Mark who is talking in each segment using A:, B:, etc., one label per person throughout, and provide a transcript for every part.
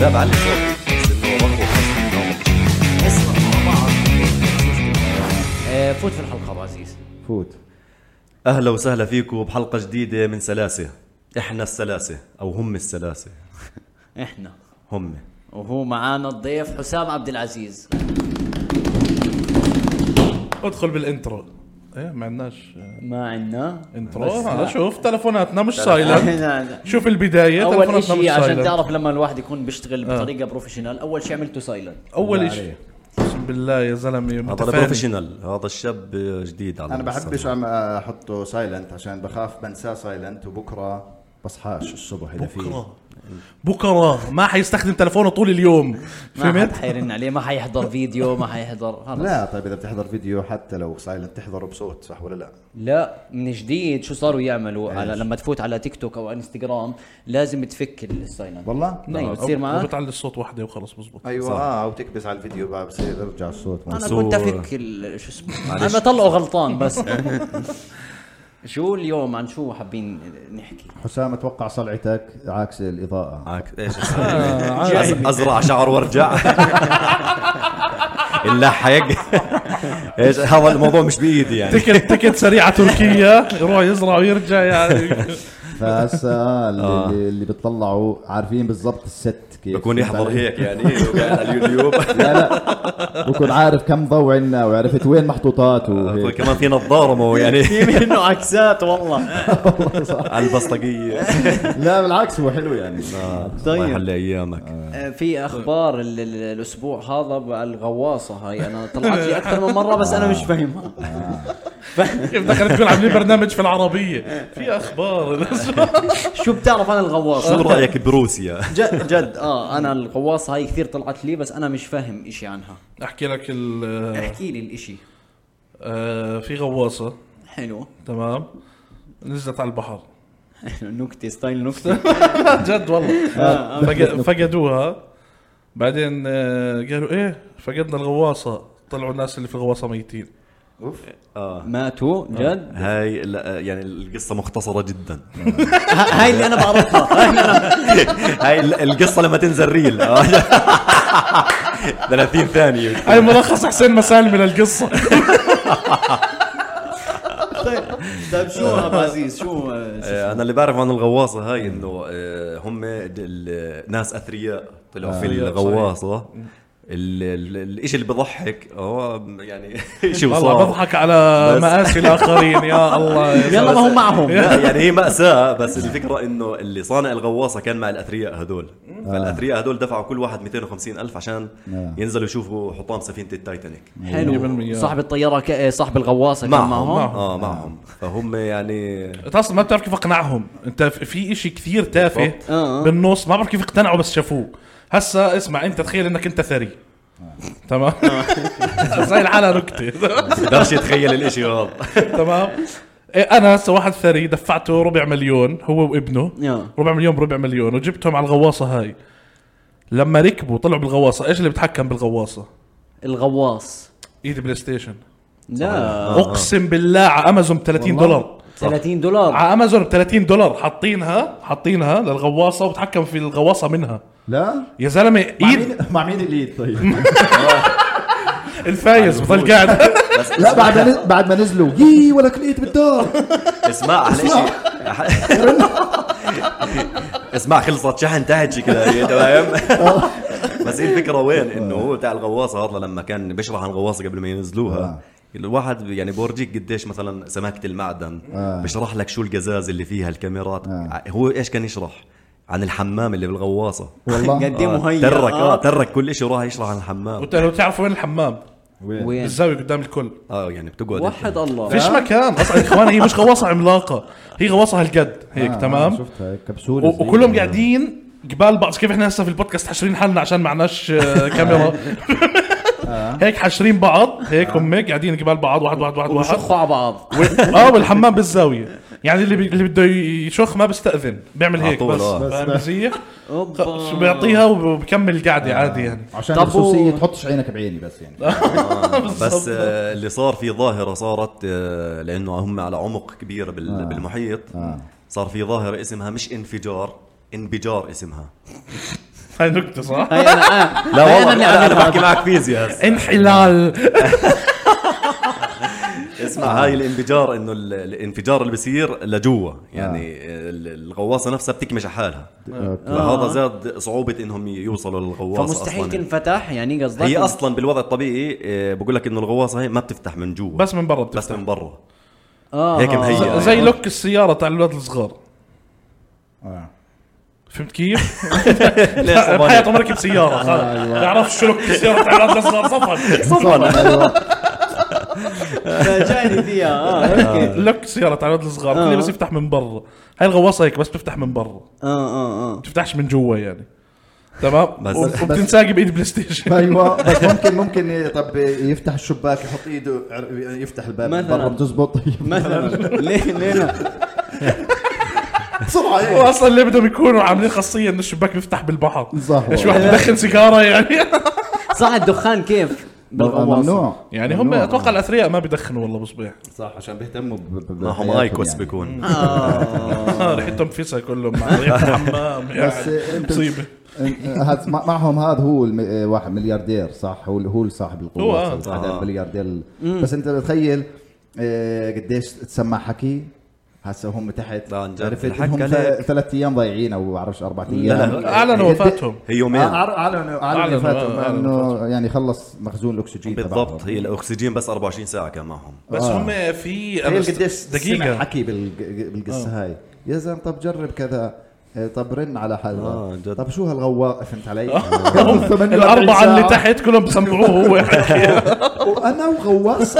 A: لا بعلي صوتي بس انه بقوى
B: اسمع مع بعض آه، فوت في الحلقه ابو عزيز
C: فوت
A: اهلا وسهلا فيكم بحلقه جديده من سلاسه احنا السلاسه او هم السلاسه
B: احنا
A: هم
B: وهو معانا الضيف حسام عبد العزيز
D: ادخل بالانترو ايه ما عندناش آه،
B: ما عندنا
D: انترو
B: بس لا.
D: آه، شوف تلفوناتنا مش سايلنت
B: لا، لا.
D: شوف البدايه
B: اول
D: تلفوناتنا مش
B: شيء عشان
D: سايلنت
B: تعرف لما الواحد يكون بيشتغل بطريقه بروفيشنال اول شيء عملته سايلنت
D: اول
C: بالله
D: شيء
C: عليك.
D: اقسم بالله يا زلمه
A: هذا
D: متفاني
A: بروفيشنال هذا الشاب جديد على
E: انا بحبش
A: المسرح.
E: عم احطه سايلنت عشان بخاف بنساه سايلنت وبكره بصحاش الصبح اذا في
D: بكره بكره ما حيستخدم تلفونه طول اليوم
B: ما حد
D: فهمت؟
B: حيرن عليه ما حيحضر فيديو ما حيحضر خلص.
E: لا طيب اذا بتحضر فيديو حتى لو سايلنت تحضره بصوت صح ولا لا
B: لا من جديد شو صاروا يعملوا على لما تفوت على تيك توك او انستغرام لازم تفك السايلنت
E: والله
B: ايوه
D: أو-
B: بتصير
D: أو
B: معك
D: بتعلي الصوت وحده وخلص بزبط
B: أيوه.
E: ايوه اه او تكبس على الفيديو بقى بصير يرجع الصوت
B: انا
E: مع-
A: سو-
B: كنت افك ال- شو اسمه انا طلعه غلطان بس شو اليوم عن شو حابين نحكي
E: حسام اتوقع صلعتك عاكس الاضاءه
A: عاك- ايش أسوي؟
D: آه،
A: أز- ازرع شعر وارجع الا حيق ايش هذا الموضوع مش بايدي يعني
D: تكت تكت سريعه تركيا يروح يزرع ويرجع يعني
E: فهسه اللي, اللي بتطلعوا عارفين بالضبط الست كيف
A: بكون يحضر هيك يعني وقاعد على اليوتيوب
E: بكون عارف كم ضوء عندنا وعرفت وين محطوطات
A: بكون
E: وهيك
A: كمان في نظاره مو يعني
B: في منه عكسات والله
A: على البسطجيه
E: لا بالعكس هو حلو يعني
B: طيب.
A: الله يحلي ايامك
B: آه، في اخبار ال- ال- الاسبوع هذا بقى الغواصه هاي انا طلعت لي اكثر من مره بس انا مش فاهمها
D: كيف دخلت تكون عاملين برنامج في العربيه في اخبار
B: شو بتعرف عن الغواصه
A: شو رايك بروسيا؟
B: جد جد اه انا الغواصه هاي كثير طلعت لي بس انا مش فاهم إشي عنها
D: احكي لك ال
B: احكي لي الإشي
D: آه، في غواصه
B: حلو
D: تمام نزلت على البحر
B: نكتة ستايل نكتة
D: جد والله
B: آه،
D: فق- فقدوها بعدين آه، قالوا ايه فقدنا الغواصه طلعوا الناس اللي في الغواصه ميتين
B: آه. ماتوا جد
A: هاي لا يعني القصه مختصره جدا
B: ه- هاي اللي انا بعرفها
A: هاي ال- القصه لما تنزل ريل آه. 30 ثانيه
D: هاي ملخص حسين مسالمي للقصه
B: طيب شو ابو عزيز شو
A: آه، انا اللي بعرف عن الغواصه هاي انه آه، هم د- ال- ناس اثرياء طلعوا في الغواصه ال- ال- الاشي اللي بضحك هو يعني شيء
D: والله
A: وصار
D: بضحك على
A: بس.
D: مآسي الاخرين يا الله يا
B: يلا ما هم معهم
A: لا يعني هي مأساة بس الفكرة انه اللي صانع الغواصة كان مع الاثرياء هدول
D: آه.
A: فالاثرياء هدول دفعوا كل واحد 250 الف عشان
E: آه.
A: ينزلوا يشوفوا حطام سفينة التايتانيك
D: آه.
B: حلو
D: 100%.
B: صاحب الطيارة ك... آه، صاحب الغواصة كان
A: معهم
B: معهم
A: اه معهم فهم يعني
D: انت اصلا ما بتعرف كيف اقنعهم انت في- في اشي كثير تافه
A: بالضبط.
B: آه.
D: بالنص ما بعرف كيف اقتنعوا بس شافوه هسا اسمع انت تخيل انك انت ثري
B: آه.
D: تمام زي العلا نكته
A: بقدرش يتخيل الاشي هذا
D: تمام إيه، انا هسه واحد ثري دفعته ربع مليون هو وابنه
B: آه.
D: ربع مليون بربع مليون وجبتهم على الغواصه هاي لما ركبوا طلعوا بالغواصه ايش اللي بتحكم بالغواصه
B: الغواص
D: ايدي بلاي ستيشن
B: لا
E: آه.
D: اقسم بالله على امازون 30 دولار
B: 30 دولار
D: على امازون ب 30 دولار حاطينها حاطينها للغواصه وبتحكم في الغواصه منها
E: لا
D: يا زلمه
E: مع
D: ايد
E: مين مع مين الايد طيب
D: الفايز بضل قاعد
E: لا بعد ما نز- بعد ما نزلوا يي ولك لقيت بالدار
A: اسمع على اشي اسمع خلصت شحن تحت شكلها تمام بس هي الفكره وين انه هو بتاع الغواصه هذا لما كان بيشرح عن الغواصه قبل ما ينزلوها الواحد يعني بورجيك قديش مثلا سماكه المعدن
E: آه.
A: بشرح لك شو القزاز اللي فيها الكاميرات
E: آه.
A: هو ايش كان يشرح عن الحمام اللي بالغواصه
E: والله
B: قد ايه مهيأ
A: ترك اه
B: آه.
A: ترك كل شيء وراح يشرح عن الحمام
D: وت- لو تعرفوا وين الحمام
E: وين
B: وين
D: بالزاويه قدام الكل
A: اه يعني بتقعد انت.
B: وحد
E: آه.
B: الله
D: فيش مكان اصلا يا اخوان هي مش غواصه عملاقه هي غواصه هالقد هيك تمام
E: آه، شفت هاي يعني. كبسوله
D: و-
E: صغيرة.
D: وكلهم قاعدين قبال بعض كيف احنا هسه في البودكاست حاشرين حالنا عشان معناش آه، كاميرا
A: آه.
D: هيك حاشرين بعض هيك هم هيك قاعدين قبال بعض واحد واحد واحد واحد
B: وشخوا على بعض
D: و- اه والحمام بالزاويه يعني اللي بي- اللي بده يشخ ما بيستاذن بيعمل
A: على
D: هيك
A: طول،
D: بس
A: آه.
D: فاهم كيف؟
B: أوبا.
D: بيعطيها وبكمل
A: آه.
D: القعده عادي يعني
E: عشان
B: طب و-
E: الخصوصيه تحطش عينك بعيني بس يعني
A: بس آه، اللي صار في ظاهره صارت آه، لانه هم على عمق كبير بال- بالمحيط
E: آه.
A: صار في ظاهره اسمها مش انفجار انبجار اسمها
D: هاي نكته صح؟
B: هاي انا آه.
A: لا
B: هاي
A: والله
B: اللي
A: لا، انا
B: عاملها.
A: بحكي معك فيزياء هسه.
D: انحلال
A: اسمع هاي الانفجار انه ال- الانفجار اللي بصير لجوا يعني ال- الغواصه نفسها بتكمش على حالها فهذا زاد صعوبه انهم يوصلوا للغواصه
B: فمستحيل
A: أصلاً.
B: تنفتح يعني قصدك
A: هي اصلا بالوضع الطبيعي آه، بقول لك انه الغواصه هي ما بتفتح من جوا
D: بس من برا
A: بس
D: بتفتح
A: من برا
B: آه.
A: هيك مهيئه
D: زي
A: يعني.
D: لوك السياره تاع الاولاد الصغار
E: آه.
D: فهمت كيف؟
A: ليش صباني؟
D: بحياته مركب سياره
A: آه،
D: خلص
A: أيوة.
D: بيعرفش شو لوك السياره تاع الاولاد الصغار صفن
B: فجاني فيها اه اوكي
D: لوك السياره تاع الاولاد الصغار
B: آه.
D: اللي بس يفتح من برا هاي الغواصه هيك بس بتفتح من برا
B: اه اه
E: آه.
B: اه
D: بتفتحش من جوا يعني تمام
A: بس-
D: وب- وبتنساق بايد بلاي ستيشن
E: ايوه بس ممكن ممكن طب يفتح الشباك يحط ايده عر- يفتح الباب
B: مثلاً.
E: برا بتزبط طيب.
B: مثلا ليه ليه لا؟
E: بسرعه هيك.
D: واصلا ليه بدهم يكونوا عاملين خاصيه انه الشباك بيفتح بالبحر
E: صح.
D: ليش واحد بدخن سيجاره يعني
B: صح الدخان كيف بالغواصه
E: ممنوع
D: يعني هم
E: ممنوع.
D: اتوقع الاثرياء ما بيدخنوا والله بصبيح
E: صح عشان بيهتموا ب- ب-
A: ما هم
E: بحياتهم
A: ايكوس
E: يعني.
A: بيكون
D: ريحتهم فيسها كلهم مع ريحه الحمام
E: آه. بس
D: يعني
E: انت
D: مصيبه
E: إن- هذا- مع- معهم هذا هو الم- آه، واحد ملياردير صح هو هو صاحب
D: هو،
E: القوه
D: آه.
E: صاحب هذا الملياردير ال- بس انت بتخيل آه، قديش تسمع حكي هسه هم تحت
A: لا، عن جد.
E: عرفت
A: الحكي
E: انهم
A: عليك.
E: ثلاث ايام ضايعين او بعرفش اربع ايام
A: لا.
D: اعلنوا
E: آه،
D: وفاتهم
A: هي يومين
E: اعلنوا
D: أعلنوا،
E: اعلنوا فاتهم
D: آه،
E: انه يعني خلص مخزون الاكسجين
A: بالضبط هي الاكسجين بس 24 ساعه كان معهم
D: بس هم في أنا
E: آه.
D: آه.
E: تخيل
D: است-
E: إيه قديش دقيقه
D: دقيقه
E: حكي بالق- بالقصه هاي يا زلمه طب جرب كذا آه، طب رن على حدا
A: آه، جد.
E: طب شو هالغواء فهمت علي؟
D: هم الاربعه اللي تحت كلهم بسمعوه هو يحكي.
E: وانا وغواص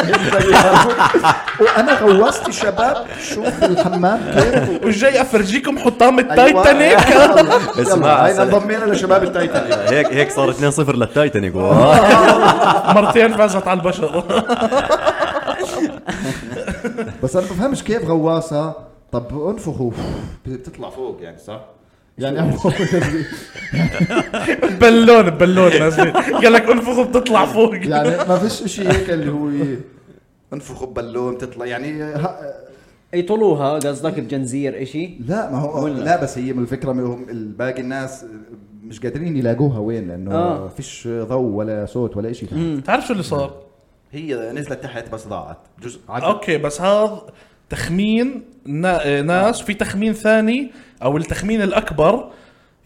E: وانا غواصتي شباب شوف الحمام كيف
D: والجاي افرجيكم حطام
E: أيوة.
D: التايتانيك
E: اسمع
A: اسمع،
E: هينا انضمينا لشباب التايتانيك
A: هيك هيك صار 2-0 للتايتانيك
D: مرتين فازت على البشر
E: بس انا بفهمش كيف غواصه طب انفخوا بتطلع فوق يعني صح؟ يعني
D: بالون بالون نازلين قال لك انفخوا بتطلع فوق
E: يعني ما فيش شيء هيك اللي هو إيه. ي- انفخوا ببالون تطلع يعني ها-
B: يطلوها قصدك بجنزير اشي
E: لا ما هو
B: ولا.
E: لا بس هي من الفكره ما هم الباقي الناس مش قادرين يلاقوها وين لانه
B: آه.
E: آه. فيش ضوء ولا صوت ولا شيء
D: تعرف شو اللي صار؟
E: هي نزلت تحت بس ضاعت جزء
D: اوكي بس هذا تخمين نا- ناس في تخمين ثاني او التخمين الاكبر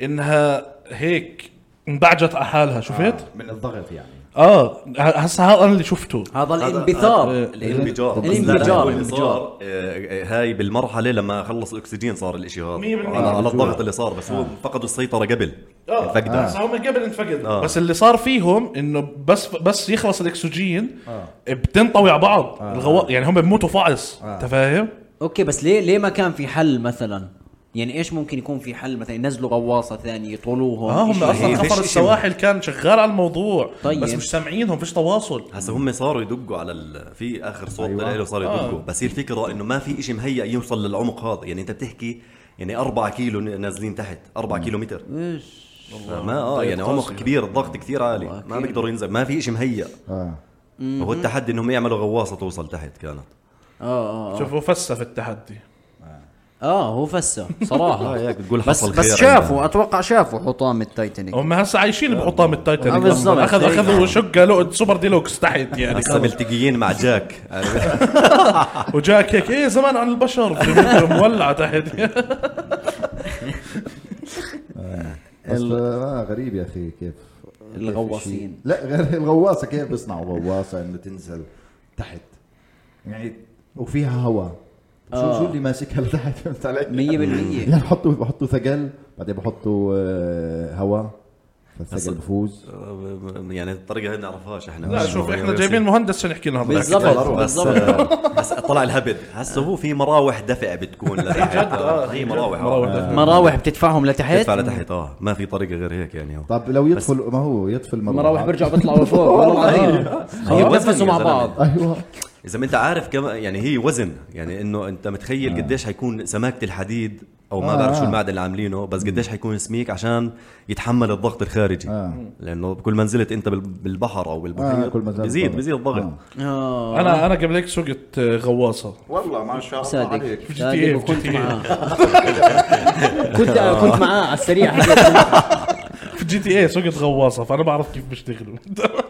D: انها هيك انبعجت على حالها شفت؟
E: آه، من الضغط يعني
D: اه ه- هسا هذا انا اللي شفته
B: هذا
A: آه،
B: الانبثار
A: الانفجار بس
B: الانفجار.
A: لا، لا، هو اللي
B: الانفجار.
A: صار، آه، آه، هاي بالمرحله لما خلص الاكسجين صار الاشي هذا
D: 100%
A: على على الضغط اللي صار بس هو فقدوا السيطره قبل
E: آه،
D: اه
A: فقدها.
D: بس هم قبل انفقد
A: آه.
D: بس اللي صار فيهم انه بس بس يخلص الاكسجين
E: آه.
D: بتنطوي على بعض الغواء يعني هم بموتوا فعص
E: آه.
D: انت فاهم؟
B: اوكي بس ليه ليه ما كان في حل مثلا يعني ايش ممكن يكون في حل مثلا ينزلوا غواصه ثانيه يطولوهم يعني؟
D: اه هم
B: إشي
D: اصلا
A: هي
B: هيك.
A: فيش
D: خفر
A: إشي.
D: السواحل كان شغال على الموضوع
B: طيب.
D: بس مش سامعينهم فيش تواصل
A: هسا هم صاروا يدقوا على ال... في اخر صوت
E: أيوة.
A: أيوة. له صاروا
D: آه.
A: يدقوا بس هي الفكره انه ما في شيء مهيئ يوصل للعمق هذا يعني انت بتحكي يعني 4 كيلو نازلين تحت 4 كيلو متر
B: إيش.
A: ما اه يعني عمق كبير الضغط كثير عالي ما بيقدروا ينزل ما في شيء مهيئ
E: اه
A: هو التحدي انهم يعملوا غواصه توصل تحت كانت
B: اه اه
D: شوفوا فسف التحدي
B: اه هو فسه صراحه
A: آه، هيك بتقول
B: بس
A: حصل
B: بس
A: خير
B: شافوا اتوقع شافوا حطام التايتانيك
D: هم هسا عايشين بحطام
B: آه،
D: التايتانيك
B: بالضبط.
D: أصلاً. اخذوا
B: هي.
D: اخذوا شقه لو سوبر ديلوكس تحت يعني
A: لسه ملتقيين مع جاك
D: وجاك هيك ايه زمان عن البشر في مولعه تحت
E: بس آه غريب يا اخي كيف كيف
B: الغواصين.
E: شيء- لا غير الغواصه كيف بيصنعوا غواصه انه تنزل تحت يعني وفيها هواء طب شو شو اللي ماسكها لتحت فهمت علي؟
B: 100%
E: يعني بحطوا بحطوا ثقل بعدين بحطوا آه، هواء فالثقل
A: أصل-
E: بفوز
A: يعني الطريقه هي بنعرفهاش احنا
D: لا شوف احنا جايبين مهندس عشان يحكي لنا هذا الحكي.
B: بالضبط
A: بس آه،
B: بالضبط
A: بس طلع الهبد هسه هو في مراوح دفع بتكون لتحت آه، هي مراوح آه.
D: مراوح دفع.
B: مراوح بتدفعهم لتحت
A: تدفع لتحت اه ما في طريقه غير هيك يعني هو.
E: طب لو يطفل ما هو يطفي المروحه
B: مراوح بيرجعوا بيطلعوا فوق والله العظيم
A: أيوه.
B: خليهم يتنفسوا مع
A: يا زلمة.
B: بعض
E: ايوه
A: اذا ما انت عارف كم يعني هي وزن يعني انه انت متخيل قديش حيكون سماكه الحديد او ما
E: آه،
A: بعرف شو
E: آه.
A: المعدن اللي عاملينه بس قديش حيكون سميك عشان يتحمل الضغط الخارجي
E: آه.
A: لانه كل ما نزلت انت بال- بالبحر او
E: آه،
A: بالمحيط
E: كل ما زاد
A: بيزيد
E: الضغط.
A: بيزيد الضغط
E: آه.
B: اه
D: انا انا قبل هيك سوقت آه، غواصه
E: والله ما شاء
B: صادق
D: في إيه.
B: صادق
D: GTA.
B: وكنت معاه كنت كنت معاه على السريع حكيت
D: في جي تي اي سوقت غواصه فانا بعرف كيف بيشتغلوا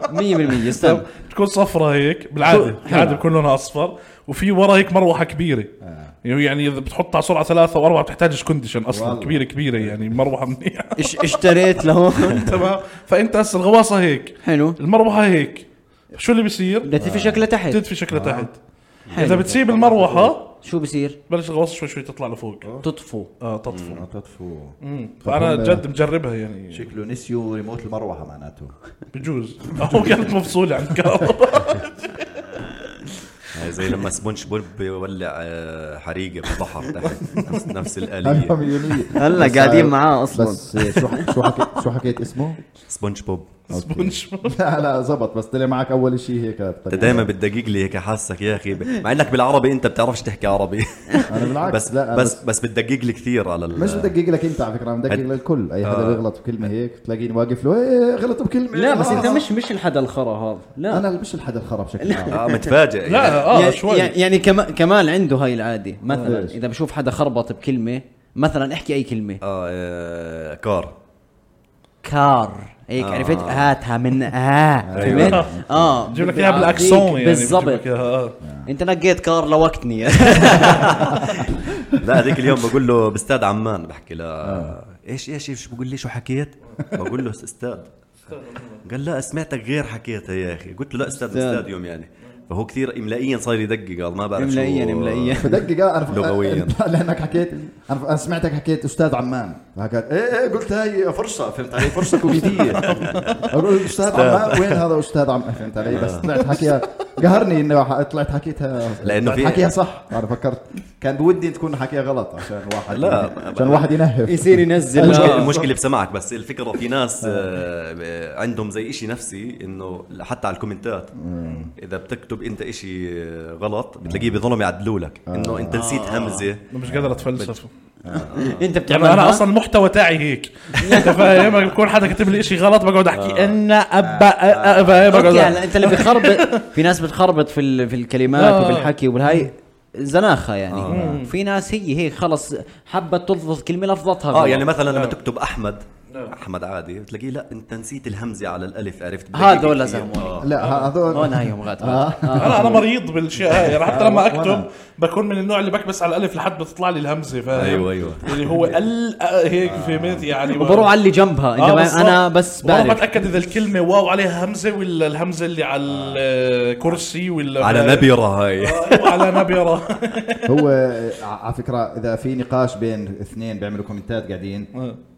B: 100% استنى
D: بتكون صفرة هيك بالعاده بالعاده بكون لونها اصفر وفي ورا هيك مروحه كبيره يعني اذا بتحطها على سرعه ثلاثه واربعه بتحتاجش كونديشن اصلا
E: والله.
D: كبيره كبيره يعني مروحه منيحه
B: إش اشتريت لهون
D: تمام فانت هسه الغواصه هيك
B: حلو
D: المروحه هيك شو اللي بيصير؟
B: لتفي شكله تحت
D: بتدفي شكلها تحت
B: حلو.
D: اذا بتسيب المروحه
B: شو بصير؟
D: بلش الغواصه شوي شوي تطلع لفوق
B: تطفو
D: اه تطفو
E: تطفو
D: فانا جد مجربها يعني
E: شكله نسيوا ريموت المروحه معناته
D: بجوز او كانت مفصوله عن الكهرباء
A: هاي آه، زي لما سبونج بوب بيولع آه، حريقه بالبحر تحت نفس- نفس
E: هلا
A: الاليه
E: مليونية
B: هلا
E: أيوة، بس- آه،
B: قاعدين معاه أصلاً.
E: بس شو حك- شو حكيت شو حكيت اسمه؟
A: سبونج بوب
D: سبونج
E: لا لا زبط بس طلع معك اول شيء هيك
A: انت دائما بتدقق لي هيك حاسك يا اخي ب- مع انك بالعربي انت بتعرفش تحكي عربي
E: انا بالعكس
A: بس
E: لا أنا
A: بس بس بتدقق لي كثير على ال-
E: يعني مش بدقق لك انت على فكره عم بدقق
A: هد-
E: للكل اي حدا
A: آه.
E: بيغلط بكلمه هيك بتلاقيني واقف له ايه غلط بكلمه
B: لا بس
E: آه.
B: انت مش مش الحدا الخرا هذا لا
E: انا مش الحدا الخرب بشكل عام
A: اه متفاجئ يعني.
D: لا اه
B: يعني-
D: شوي
B: يعني- يعني كما- كمال عنده هاي العاده مثلا
E: ليش؟
B: اذا بشوف حدا خربط بكلمه مثلا احكي اي كلمه
A: اه آه، كار
B: كار هيك
A: آه.
B: عرفت هاتها من اه
A: أيوة.
B: فهمت اه
D: بجيب أيوه. لك اياها بالاكسون يعني
B: بالضبط
D: بجيب لك إياها، آه.
B: انت نقيت كار لوقتني
A: لا هذيك اليوم بقول له باستاد عمان بحكي لا ايش ايش ايش بقول لي شو حكيت؟ بقول له استاد قال لا سمعتك غير حكيتها يا اخي قلت له لا استاذ
B: أستاذ.
A: استاذ يوم يعني فهو كثير املائيا صار يدقق قال ما بعرف شو
B: املائيا املائيا
E: بدقق آه، انا ف-
A: لغوياً.
E: لانك حكيت انا ف- أنا سمعتك حكيت استاذ عمان فحكيت ايه ايه قلت هاي فرصه فهمت علي فرصه كوميديه اقول له استاذ عمان وين هذا استاذ عمان فهمت علي بس طلعت حكيها قهرني انه ح- طلعت حكيتها
A: لأنه
E: طلعت
A: في-
E: حكيها صح انا فكرت كان بودي تكون حكيها غلط عشان واحد
A: لا.
E: عشان واحد ينهف
B: يصير ينزل
A: المشكلة,
B: آه.
A: المشكلة بسمعك بس الفكرة في ناس آه، آه، عندهم زي إشي نفسي إنه حتى على الكومنتات إذا بتكتب أنت إشي آه، غلط بتلاقيه بظلم يعدلوا لك إنه أنت نسيت همزة
D: أنا مش قادر اتفلسف
B: انت
D: يعني
B: بتعملها
D: انا اصلا المحتوى تاعي هيك انت فاهم بكون حدا كاتب لي شيء غلط بقعد احكي ان ابا أ- أ- فاهم
B: اوكي
D: بقعد
B: يعني انت اللي بخربط في ناس بتخربط في ال- في الكلمات
D: آه.
B: وبالحكي وبالهاي زناخه يعني في ناس هي هي خلص حبت تلفظ كلمه لفظتها
D: آه،
A: اه
B: غلط.
A: يعني مثلا لما تكتب احمد احمد عادي بتلاقيه لا انت نسيت الهمزه على الالف عرفت بدقيقة
B: هذول
A: كتير.
B: زلمة.
A: آه.
E: لا هذول
B: هون هاي يوم غاد آه.
D: انا انا مريض بالشيء هاي يعني حتى لما
E: آه، وأنا.
D: اكتب بكون من النوع اللي بكبس على الالف لحد بتطلع لي الهمزه فاهم
A: أيوة، أيوة.
D: اللي هو ال أ- هيك فهمت يعني آه،
B: وبروح على اللي جنبها انت آه، ما-
D: بالضبط.
B: انا بس
D: وأنا
B: بعرف
D: بتاكد اذا الكلمه واو عليها همزه ولا الهمزه اللي على الكرسي ولا
A: على نبره هاي
D: آه، على نبره
E: هو آه، على فكره اذا في نقاش بين اثنين بيعملوا كومنتات قاعدين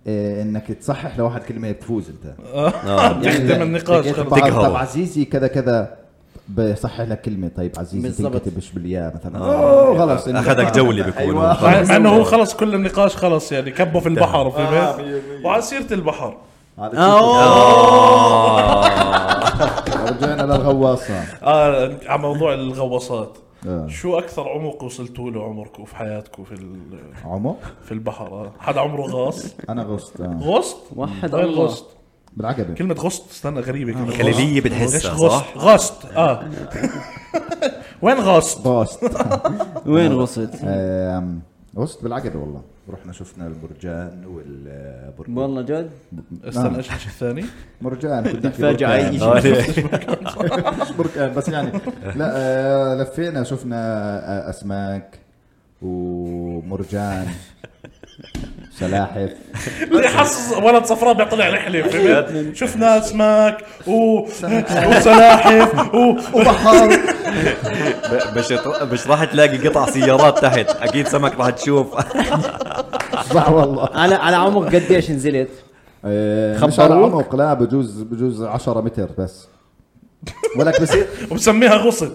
E: إيه انك تصحح لواحد كلمه بتفوز انت
A: آه.
D: يخدم النقاش
E: يعني لقيت
D: خلص.
E: بعض-
A: تقهر.
E: طب عزيزي كذا كذا بصحح لك كلمه طيب عزيزي
B: بالضبط.
E: تنكتبش بالياء مثلا اوه خلص إنت-
A: اخذك جولي بكون
E: أيوة.
A: هو.
D: مع مع انه هو خلص كل النقاش خلص يعني كبه في البحر في البيت وعلى سيره البحر
E: على
A: آه.
E: شكل- رجعنا للغواصه
D: اه على موضوع الغواصات
E: آه.
D: شو اكثر عمق وصلتوا له عمركم في حياتكم في ال-
E: عمو
D: في البحر آه. حدا عمره غاص طيب،
E: انا غصت آه.
D: غصت
B: وحد
D: وين
B: الله.
D: غصت
E: بالعقبه
D: كلمه غصت استنى غريبه كلمه غصت.
A: خليجية
D: ايش
A: بتحسها صح؟
D: غصت غصت اه وين غصت
E: غصت
B: وين غصت
E: آم، غصت بالعقبه والله رحنا شفنا البرجان والبرج
B: والله جد
A: نعم.
D: استنى ايش الشيء الثاني
E: مرجان كنت أحكي
B: تتفاجأ
E: بركان.
B: أي شيء.
A: آه، ليه؟
E: مش بركان بس يعني لا آه، لفينا شفنا آه، اسماك ومرجان سلاحف
D: اللي حاسس ولد صفراء بيطلع رحله فهمت؟ شفنا اسماك و... وسلاحف و...
E: وبحر
A: مش مش راح تلاقي قطع سيارات تحت اكيد سمك راح تشوف
E: صح والله
B: على على عمق قديش نزلت
E: آه، مش على
B: خبروك؟
E: عمق لا بجوز بجوز 10 متر بس ولك بصير
D: ومسميها غصت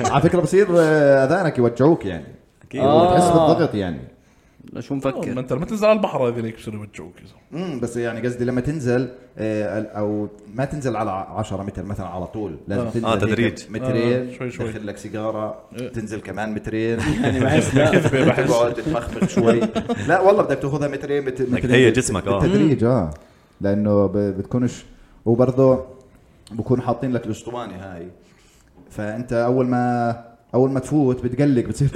E: على فكره بصير آه، اذانك يوجعوك يعني
A: أكيد.
E: بتحس بالضغط يعني
B: لا شو
D: ما
B: مفكر
D: انت لما تنزل على البحر هذه ليك بصيروا يوجعوك
E: امم بس يعني قصدي لما تنزل آه، ال- او ما تنزل على 10 متر مثلا على طول لازم تنزل
A: آه،
E: هيك
A: تدريج.
E: مترين
D: آه، شوي شوي. إيه.
E: تدخل لك سيجاره تنزل كمان مترين
B: يعني بحس لا
D: كذبه بحس
E: تقعد تتمخمخ شوي لا والله بدك تاخذها مترين مت- مترين
A: تهيئ جسمك، آه.
E: بالتدريج اه لانه ب- بتكونش وبرضه بكون حاطين لك الاسطوانه هاي فانت اول ما اول ما تفوت بتقلق بتصير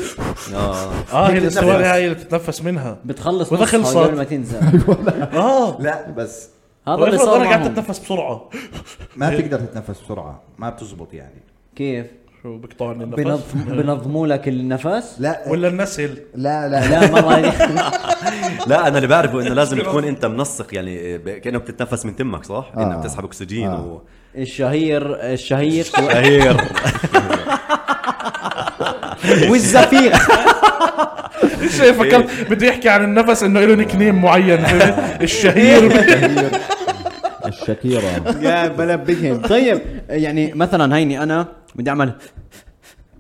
A: اه
D: اه هي
E: هيك
D: السواري
E: تتنفس.
D: هاي اللي بتتنفس منها
B: بتخلص
D: وإذا
B: نصها
D: خلصت؟
B: قبل ما تنزل
D: اه
E: لا بس
B: هذا اللي
D: وافرض
B: صار
D: انا قاعد
B: معهم
D: اتنفس بسرعه
E: ما بتقدر تتنفس بسرعه ما بتزبط يعني
B: كيف؟
D: شو بقطعني النفس
B: بنظم بنظموا لك النفس؟
E: لا
D: ولا النسل
E: لا لا لا
B: لا مرة هذه-
A: لا انا اللي بعرفه انه لازم تكون انت منسق يعني ب- كانه بتتنفس من تمك صح؟ انك
E: آه.
A: بتسحب اكسجين
E: آه.
A: و
B: الشهير الشهيق و-
A: اهير
B: والزفير
D: ايش فكرت بدي احكي عن النفس انه له نيك نيم معين فهمت؟ الشهير
E: الشكيره
B: يا بلا بهم طيب يعني مثلا هيني انا بدي اعمل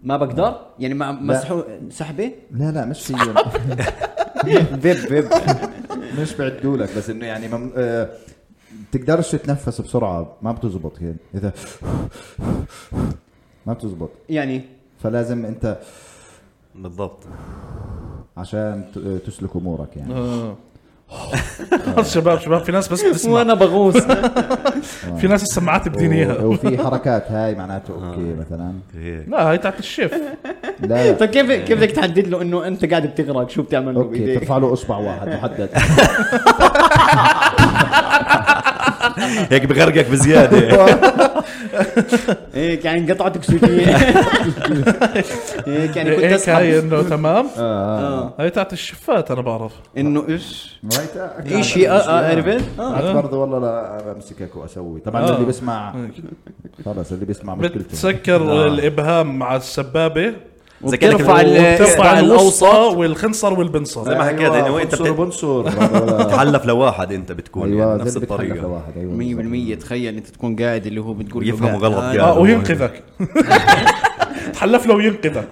B: ما بقدر يعني ما مسحو سحبه
E: لا لا مش في
B: فيب فيب
E: مش بعدولك بس انه يعني مم... آه... بتقدرش تتنفس بسرعه ما بتزبط هيك اذا ما بتزبط
B: يعني
E: فلازم انت
A: بالضبط
E: عشان ت- تسلك امورك يعني
D: آه. خلص شباب شباب في ناس بس بتسمع
B: وانا بغوص
D: في ناس السماعات بدين
E: و-
D: اياها
E: وفي حركات هاي معناته اوكي مثلا
A: هيك
D: لا هاي تاعت الشيف
E: لا
B: طيب كيف كيف بدك تحدد له انه انت قاعد بتغرق شو بتعمل له
E: اوكي
B: بايديك؟
E: ترفع له اصبع واحد محدد
A: هيك بغرقك بزياده
B: هيك يعني انقطعت اكسجين هيك يعني كنت
D: إيه، هيك هاي
B: اسحب
D: انه تمام
B: آه.
D: هاي تاعت الشفات انا بعرف
B: انه ايش
E: في
B: في شيء آه، آه، عرفت؟ آه.
E: قعدت برضه والله لا بمسكك واسوي طبعا
D: آه.
E: اللي بيسمع خلص اللي بيسمع مشكلته
D: بتسكر الابهام مع السبابه
A: زي كأنك
B: وبترفع ال-
D: وبترفع
B: بترفع
D: الوسطى
B: الاوسط
D: والخنصر والبنصر
A: زي ما حكيت،
E: أيوة،
A: يعني وين أنت بت-
E: بنصر بنصر برضه ولا-
A: بتحلف لواحد انت بتكون
E: ايوه
A: يعني
E: زي
A: نفس
E: اللي بتحلف
A: الطريقه
E: لواحد ايوه
B: 100% تخيل انت تكون قاعد اللي هو بتقول له
A: ويفهموا
B: لا،
A: غلط
B: آه،
A: قاعد.
D: اه وينقذك تحلف له وينقذك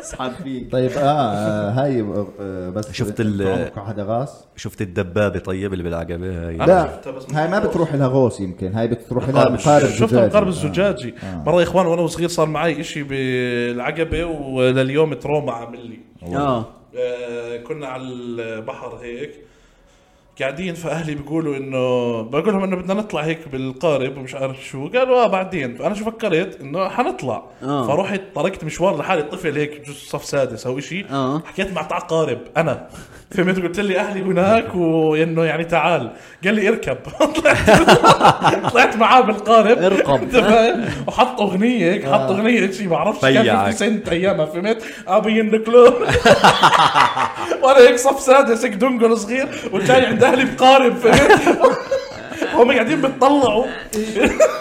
B: اسحب فيك
E: طيب اه آه، هاي آه، بس
A: شفت ال-
E: تعمق على غاص
A: شفت الدبابه طيب اللي بالعقبه هاي
E: لا
D: شفتها بس
E: هاي ما بتروح لها غوص يمكن هاي بتروح لها
A: مقارب
E: مقارب
D: شفتها بالقارب
E: زجاجي.
D: الزجاجي مره يا اخوان وانا صغير صار معي اشي بالعقبه ولليوم تروما عامل لي
B: اه
D: آه، كنا على البحر هيك قاعدين فاهلي بيقولوا انه بقول لهم انه بدنا نطلع هيك بالقارب ومش عارف شو قالوا اه بعدين فانا شو فكرت انه حنطلع
B: آه.
D: فرحت طرقت مشوار لحالي طفل هيك بجوز صف سادس او شيء
B: آه.
D: حكيت مع تاع قارب انا فهمت قلت لي اهلي هناك وانه يعني تعال قال لي اركب طلعت طلعت معاه بالقارب
B: اركب. آه.
D: أنت فاهم؟ وحط اغنيه هيك حط اغنيه شيء ما بعرفش كان
A: بيعك.
D: 50 سنت ايامها فهمت ابي الكلوب وانا هيك صف سادس هيك دنقل صغير والجاي عند اهلي بقارب فهمت هم قاعدين بتطلعوا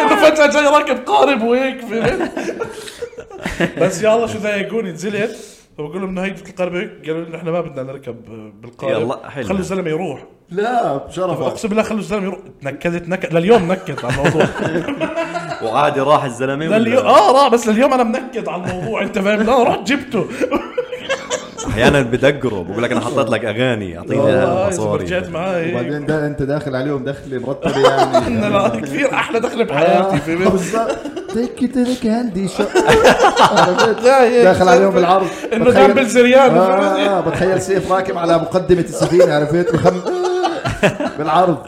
D: انه فجاه جاي راكب قارب وهيك فهمت بس يلا شو ضايقوني نزلت فبقول لهم انه هي جبت القارب هيك قالوا لي احنا ما بدنا نركب بالقارب
A: يلا، حلو.
D: خلوا الزلمه يروح
E: لا بشرفك
D: اقسم بالله خلوا الزلمه يروح تنكدت نكد لليوم نكد على الموضوع
A: وعادي راح الزلمه
D: لليوم
A: ولا-
D: اه لا بس لليوم انا منكد على الموضوع انت فاهم لا رحت جبته
A: احيانا بدقره بقول لك انا حطيت لك اغاني اعطيني
D: والله إذا رجعت
A: مصاري
D: معاي
E: وبعدين ده انت داخل عليهم دخله مرتبه يعني
D: إن لا كثير احلى دخله بحياتي
E: آه،
D: في
E: بالظبط تك تك هاندي شو عرفت؟ داخل عليهم بالعرض
D: انه
E: بتخيل-
D: دامبل سريان
E: آه، آه، بتخيل سيف راكب على مقدمه السفينه عرفت بخم... بالعرض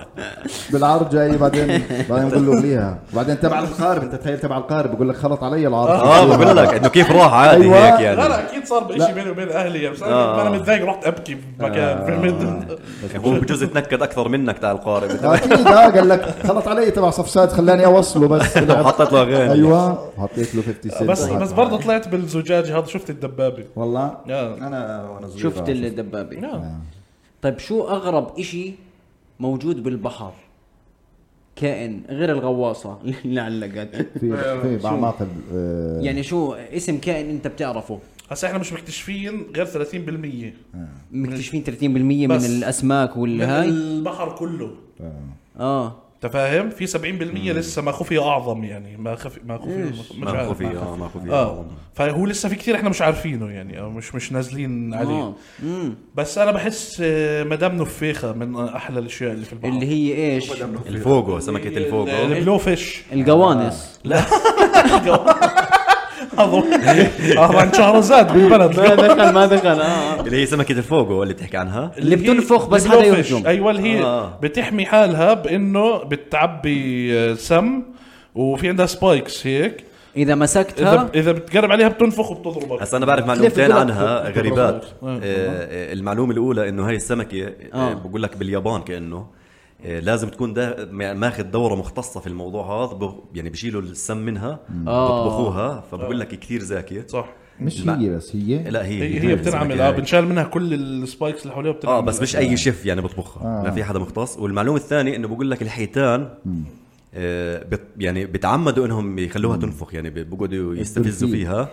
E: بالعرض جاي بعدين بعدين بقول له ليها بعدين تبع القارب انت تخيل تبع القارب بقول لك خلط علي العرض
A: اه بقول لك انه كيف راح عادي
E: أيوة.
A: هيك
D: لا
A: يعني
D: لا اكيد صار بشيء بيني وبين اهلي يعني بس انا أنا متضايق رحت ابكي بمكان فهمت
A: هو بجوز يتنكد اكثر منك تاع القارب
E: اكيد اه قال لك خلط علي تبع صفصاد خلاني اوصله بس
A: حطيت له اغاني
E: ايوه حطيت له 50 سنت
D: بس بس برضه طلعت بالزجاجه هذا شفت الدبابه
E: والله
D: آه.
E: انا وانا صغير
B: شفت الدبابه
D: لا.
B: طيب شو اغرب اشي موجود بالبحر كائن غير الغواصه اللي علقت
E: في في بعماق ال- آه،
B: يعني شو اسم كائن انت بتعرفه
D: هسا احنا مش مكتشفين غير 30%
B: مكتشفين 30% من
D: بس.
B: الاسماك
D: من
B: والهاي
D: البحر كله
B: اه
D: انت فاهم في 70% لسه ما خفي اعظم يعني ما خفي ما خفي
B: إيش؟
D: مش
A: ما
D: عارف.
A: خفي اه ما خفي
D: اه
A: آه.
D: فهو لسه في كتير احنا مش عارفينه يعني او مش مش نازلين عليه
B: اه مم.
D: بس انا بحس آه، مدام نفيخه من احلى الاشياء اللي في البحر
B: اللي هي ايش
A: آه. الفوجو سمكه الفوجو
D: البلو فيش
B: القوانص
D: اهران شهرزاد بالبلد
B: دخل ما دخل اه
A: اللي هي سمكه الفوجو اللي بتحكي عنها
B: اللي
D: هي-
B: بتنفخ بس
D: البلو
B: حدا
D: فيش.
B: يهجم
D: ايوه اللي هي
A: آه.
D: بتحمي حالها بانه بتعبي آه، سم وفي عندها سبايكس هيك
B: اذا مسكتها
D: اذا اذا بتقرب عليها بتنفخ وبتضربك
A: هسا انا بعرف معلومتين
E: لف بدك
A: عنها
E: تضرب
A: غريبات
E: الخيط.
A: آه، آه، المعلومه الاولى انه هاي السمكه آه،
B: آه.
A: بقول لك باليابان كانه آه، لازم تكون دا ما- ماخذ دوره مختصه في الموضوع هذا ب- يعني بشيلوا السم منها
B: آه.
A: بطبخوها فبقول لك كثير زاكيه
D: صح
E: مش
A: لا.
E: هي بس هي
A: لا هي
D: هي,
A: هاي
D: هي
A: السمكة
D: بتنعمل اه
A: هاي.
D: بنشال منها كل السبايكس اللي حواليها آه، بتنعمل
A: اه إيه، بس مش اي شيف يعني بطبخها
E: آه.
A: آه. ما في حدا مختص والمعلومه الثانيه انه بقول لك الحيتان آه بت يعني بتعمدوا انهم يخلوها تنفخ يعني بيقعدوا يستفزوا
E: فيه.
A: فيها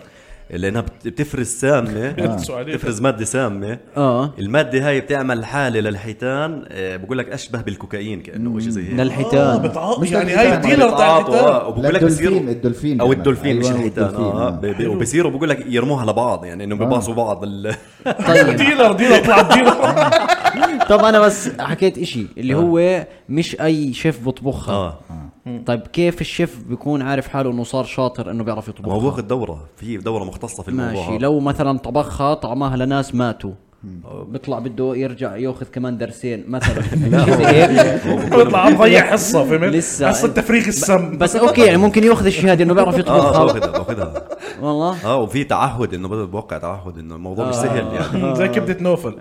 A: لانها بت- بتفرز سامه
D: بيرقصوا عليها.
A: بتفرز ماده سامه
B: اه
A: الماده هاي بتعمل حاله للحيتان آه بقول لك اشبه بالكوكايين كانه شيء زي هيك
D: اه
B: للحيتان
D: بتع...
E: مش
D: يعني
E: للحيتان،
D: هاي الديلر تاع
A: بيتعاطوا،
D: الحيتان
A: آه، وبقول لك
E: الدولفين
A: بصير
E: الدولفين
A: او
E: بيعمل.
A: الدولفين مش
E: أيوة،
A: الحيتان
E: والدولفين،
A: اه بي- بي- وبصيروا بقول لك يرموها لبعض يعني انهم بباصوا بعض ال...
B: طيب
D: ديلر ديلر طلع ديلر
B: طب انا بس حكيت اشي اللي هو مش اي شيف بطبخها
A: اه
B: طيب كيف الشيف بيكون عارف حاله انه صار شاطر انه بيعرف
A: ما هو
B: يطبخها
A: باخذ دوره في دوره مختصه في الموضوع
B: ماشي
A: هذا.
B: لو مثلا طبخها طعمها لناس ماتوا بيطلع بده يرجع ياخذ كمان درسين مثلا شي زي هيك.
D: بيطلع مضيع حصه فهمت
B: لسه.
D: حصه تفريغ السم
B: بس اوكي يعني ممكن ياخذ الشهاده انه بيعرف
A: اه
B: يطبخها
A: باخذها باخذها
B: والله
A: اه وفي تعهد انه بدل بوقع تعهد انه الموضوع مش سهل
B: آه.
A: يعني
D: زي كبده نوفل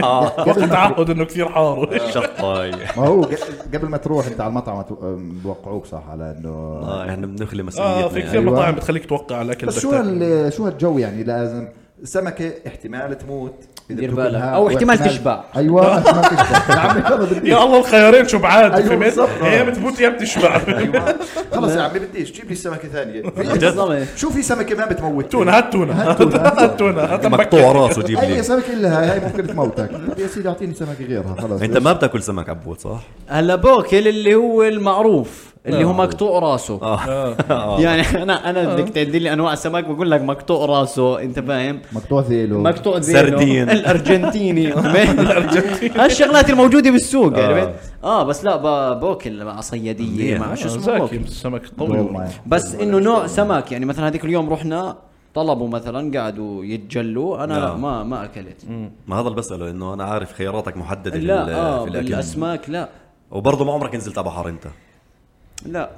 D: وقت
E: قبل ما-
D: تعهد انه كثير حار
B: طيب،
A: شطاي
E: ما هو ق- قبل ما تروح انت على المطعم تو- أم، بوقعوك صح على انه
A: اه احنا
B: آه،
A: بنخلي مسؤوليتنا
D: اه في كثير
A: يعني.
E: أيوة.
D: مطاعم بتخليك توقع على الاكل
E: بس
D: بدك
E: شو
D: تاكل.
E: هال- شو هالجو يعني لازم سمكه احتمال تموت إذا
B: دير
E: بتاكلها،
B: بالك. أو احتمال
E: واحتمال-
B: تشبع.
E: ايوه احتمال تشبع يا عمي خلص بدي
D: يا الله الخيارين شو بعاد
E: أيوة
D: فهمت
E: بالضبط.
D: يا بتموت يا بتشبع
B: أيوة.
E: ايوه خلص يا عمي بديش جيب لي سمكه ثانيه
B: بالضبط.
E: شو في سمكه ما بتموت
D: تونه هات تونه هات تونه هات
A: مقطوع
D: مبكة.
A: راسه جيب
E: اي
A: لي
E: سمكه لها هاي ممكن تموتك بدي يا سيدي اعطيني سمكه غيرها خلص
A: انت ما بتاكل سمك عبود صح؟
B: هلا بوكل اللي هو المعروف اللي هو مقطوع راسه
A: آه.
B: يعني انا انا بدك تعدي لي انواع سمك بقول لك مقطوع راسه انت فاهم
E: مقطوع ذيله
B: مقطوع ذيله
A: سردين.
B: الارجنتيني هالشغلات الموجوده بالسوق يعني اه بس لا ب- باكل مع صياديه
A: آه. منيح.
B: مع آه، شو اسمه
D: زاكي
B: باكل.
D: السمك طويل
E: والله.
B: بس انه نوع سمك يعني مثلا هذيك اليوم رحنا طلبوا مثلا قعدوا يتجلوا انا لا
A: نعم.
B: ما ما اكلت
A: ما هذا اللي بساله انه انا عارف خياراتك محدده في,
B: لا
A: ال-
B: اه
A: في الاكل
B: بالاسماك لا
A: وبرضه ما عمرك نزلت على بحر انت
B: لا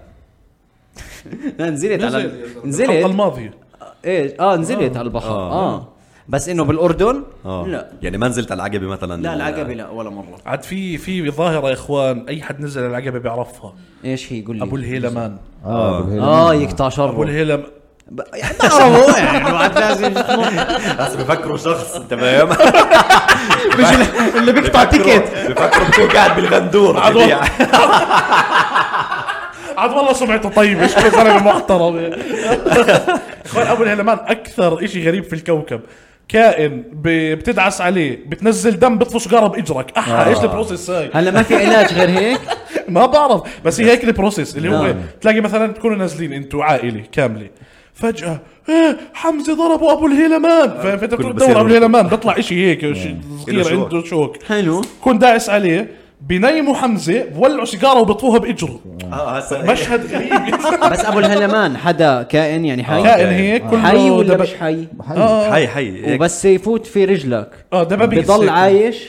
B: لا نزلت على
D: نزل. الحلقه
B: نزلت
D: الماضيه
B: ايه اه نزلت على البحر
A: آه.
B: اه بس انه بالاردن
A: اه
B: لا
A: يعني ما نزلت على العقبه مثلا
B: لا العقبه لا ولا مره
D: عاد في في ظاهره يا اخوان اي حد نزل العقبه بيعرفها
B: ايش هي قول لي
D: ابو الهيلمان
E: اه
A: آه.
E: أبو الهيل.
B: اه يقطع
D: ابو
B: شره
D: الهيلم
B: ب- يعني بعرفه يعني بعد لازم
A: بس بفكروا شخص تمام
B: مش اللي- اللي بيقطع تيكت
A: بفكروا بكون قاعد بالغندور
D: عاد والله عاد والله سمعته طيب، طيبه شو زلمه محترم اخوان ابو الهيلمان اكثر شيء غريب في الكوكب كائن ب- بتدعس عليه بتنزل دم بتطفش قرع باجرك احا
B: آه.
D: ايش البروسيس هاي
B: هلا ما في علاج غير هيك
D: ما بعرف بس هي هيك البروسيس اللي هو
B: نعم.
D: تلاقي مثلا تكونوا نازلين انتوا عائله كامله فجأة إيه حمزة ضربوا أبو الهيلمان فأنت بتدور
A: بصير
D: على أبو الهيلمان بيطلع إشي هيك شي
A: إله
D: صغير
A: شوك.
D: عنده شوك
B: نعم. حلو
D: كون داعس عليه بنيموا حمزة بولعوا سيجارة وبطفوها بإجره
A: اه
B: آه.
A: هسا
D: مشهد غريب
B: بس ابو الهلمان حدا كائن يعني حي
D: كائن هيك آه، كله
B: حي ولا
D: دب-
B: مش حي
E: حي.
A: حي حي
B: وبس يفوت في رجلك
D: اه دبابيس
B: بضل
D: هيك.
B: عايش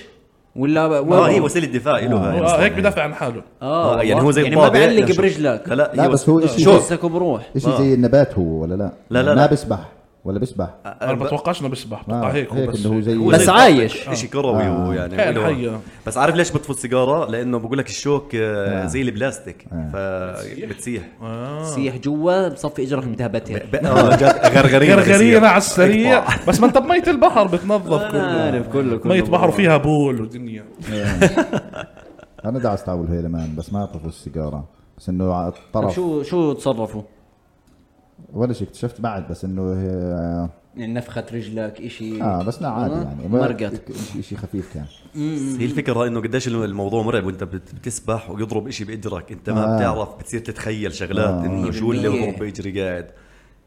B: ولا ب-
A: اه هي
B: وين؟
A: وسيله دفاع
B: آه.
A: يعني. له هاي
D: اه هيك بدافع عن حاله
A: اه يعني هو زي
B: إيه، يعني ما
A: الطابق.
B: بعلق
A: شوف.
B: برجلك
A: لا لا
E: لا،
A: هي
E: بس
A: وس-
E: هو إشي
A: شوف
B: بسك بروح
E: اشي زي النبات هو ولا لا؟
A: لا، لا،
E: ما
A: لا.
E: بسبح ولا بسبح
D: انا بتوقعش انه بيسبح
E: آه،
D: بتوقع هيك هو بس
E: انه هو زي
A: هو
B: بس
A: زي الطابق.
B: عايش.
A: شيء كروي
E: آه.
A: هو يعني
D: كائن
A: له-
D: حي.
A: بس عارف ليش بطفوا السيجاره لانه بقول لك الشوك آه، زي البلاستيك
E: آه.
A: فبتسيح
B: آه. سيح جوا بصفي اجرك مدهبتها
A: ب- آه، جد غرغريه
D: غرغرية
A: بتصير.
D: على السريع
A: اقطع.
D: بس ما انت بمية البحر بتنظف كله
B: عارف كله كله
D: مية بحر فيها بول ودنيا يعني
E: انا دعست على أبو الهيلمان بس ما اعرف السيجاره بس انه على
B: طب
E: الطرف
B: شو شو تصرفوا؟
E: ولا شيء اكتشفت بعد بس انه آه،
B: يعني نفخة رجلك اشي
E: اه بس لا عادي يعني ما-
B: مرقت
E: شيء- شيء خفيف كان
A: هي الفكره انه قديش الموضوع مرعب وانت بت- بتسبح ويضرب إشي باجرك انت ما
E: آه.
A: بتعرف بتصير تتخيل شغلات
E: آه.
A: انه شو اللي
B: بالمية.
A: يضرب باجري قاعد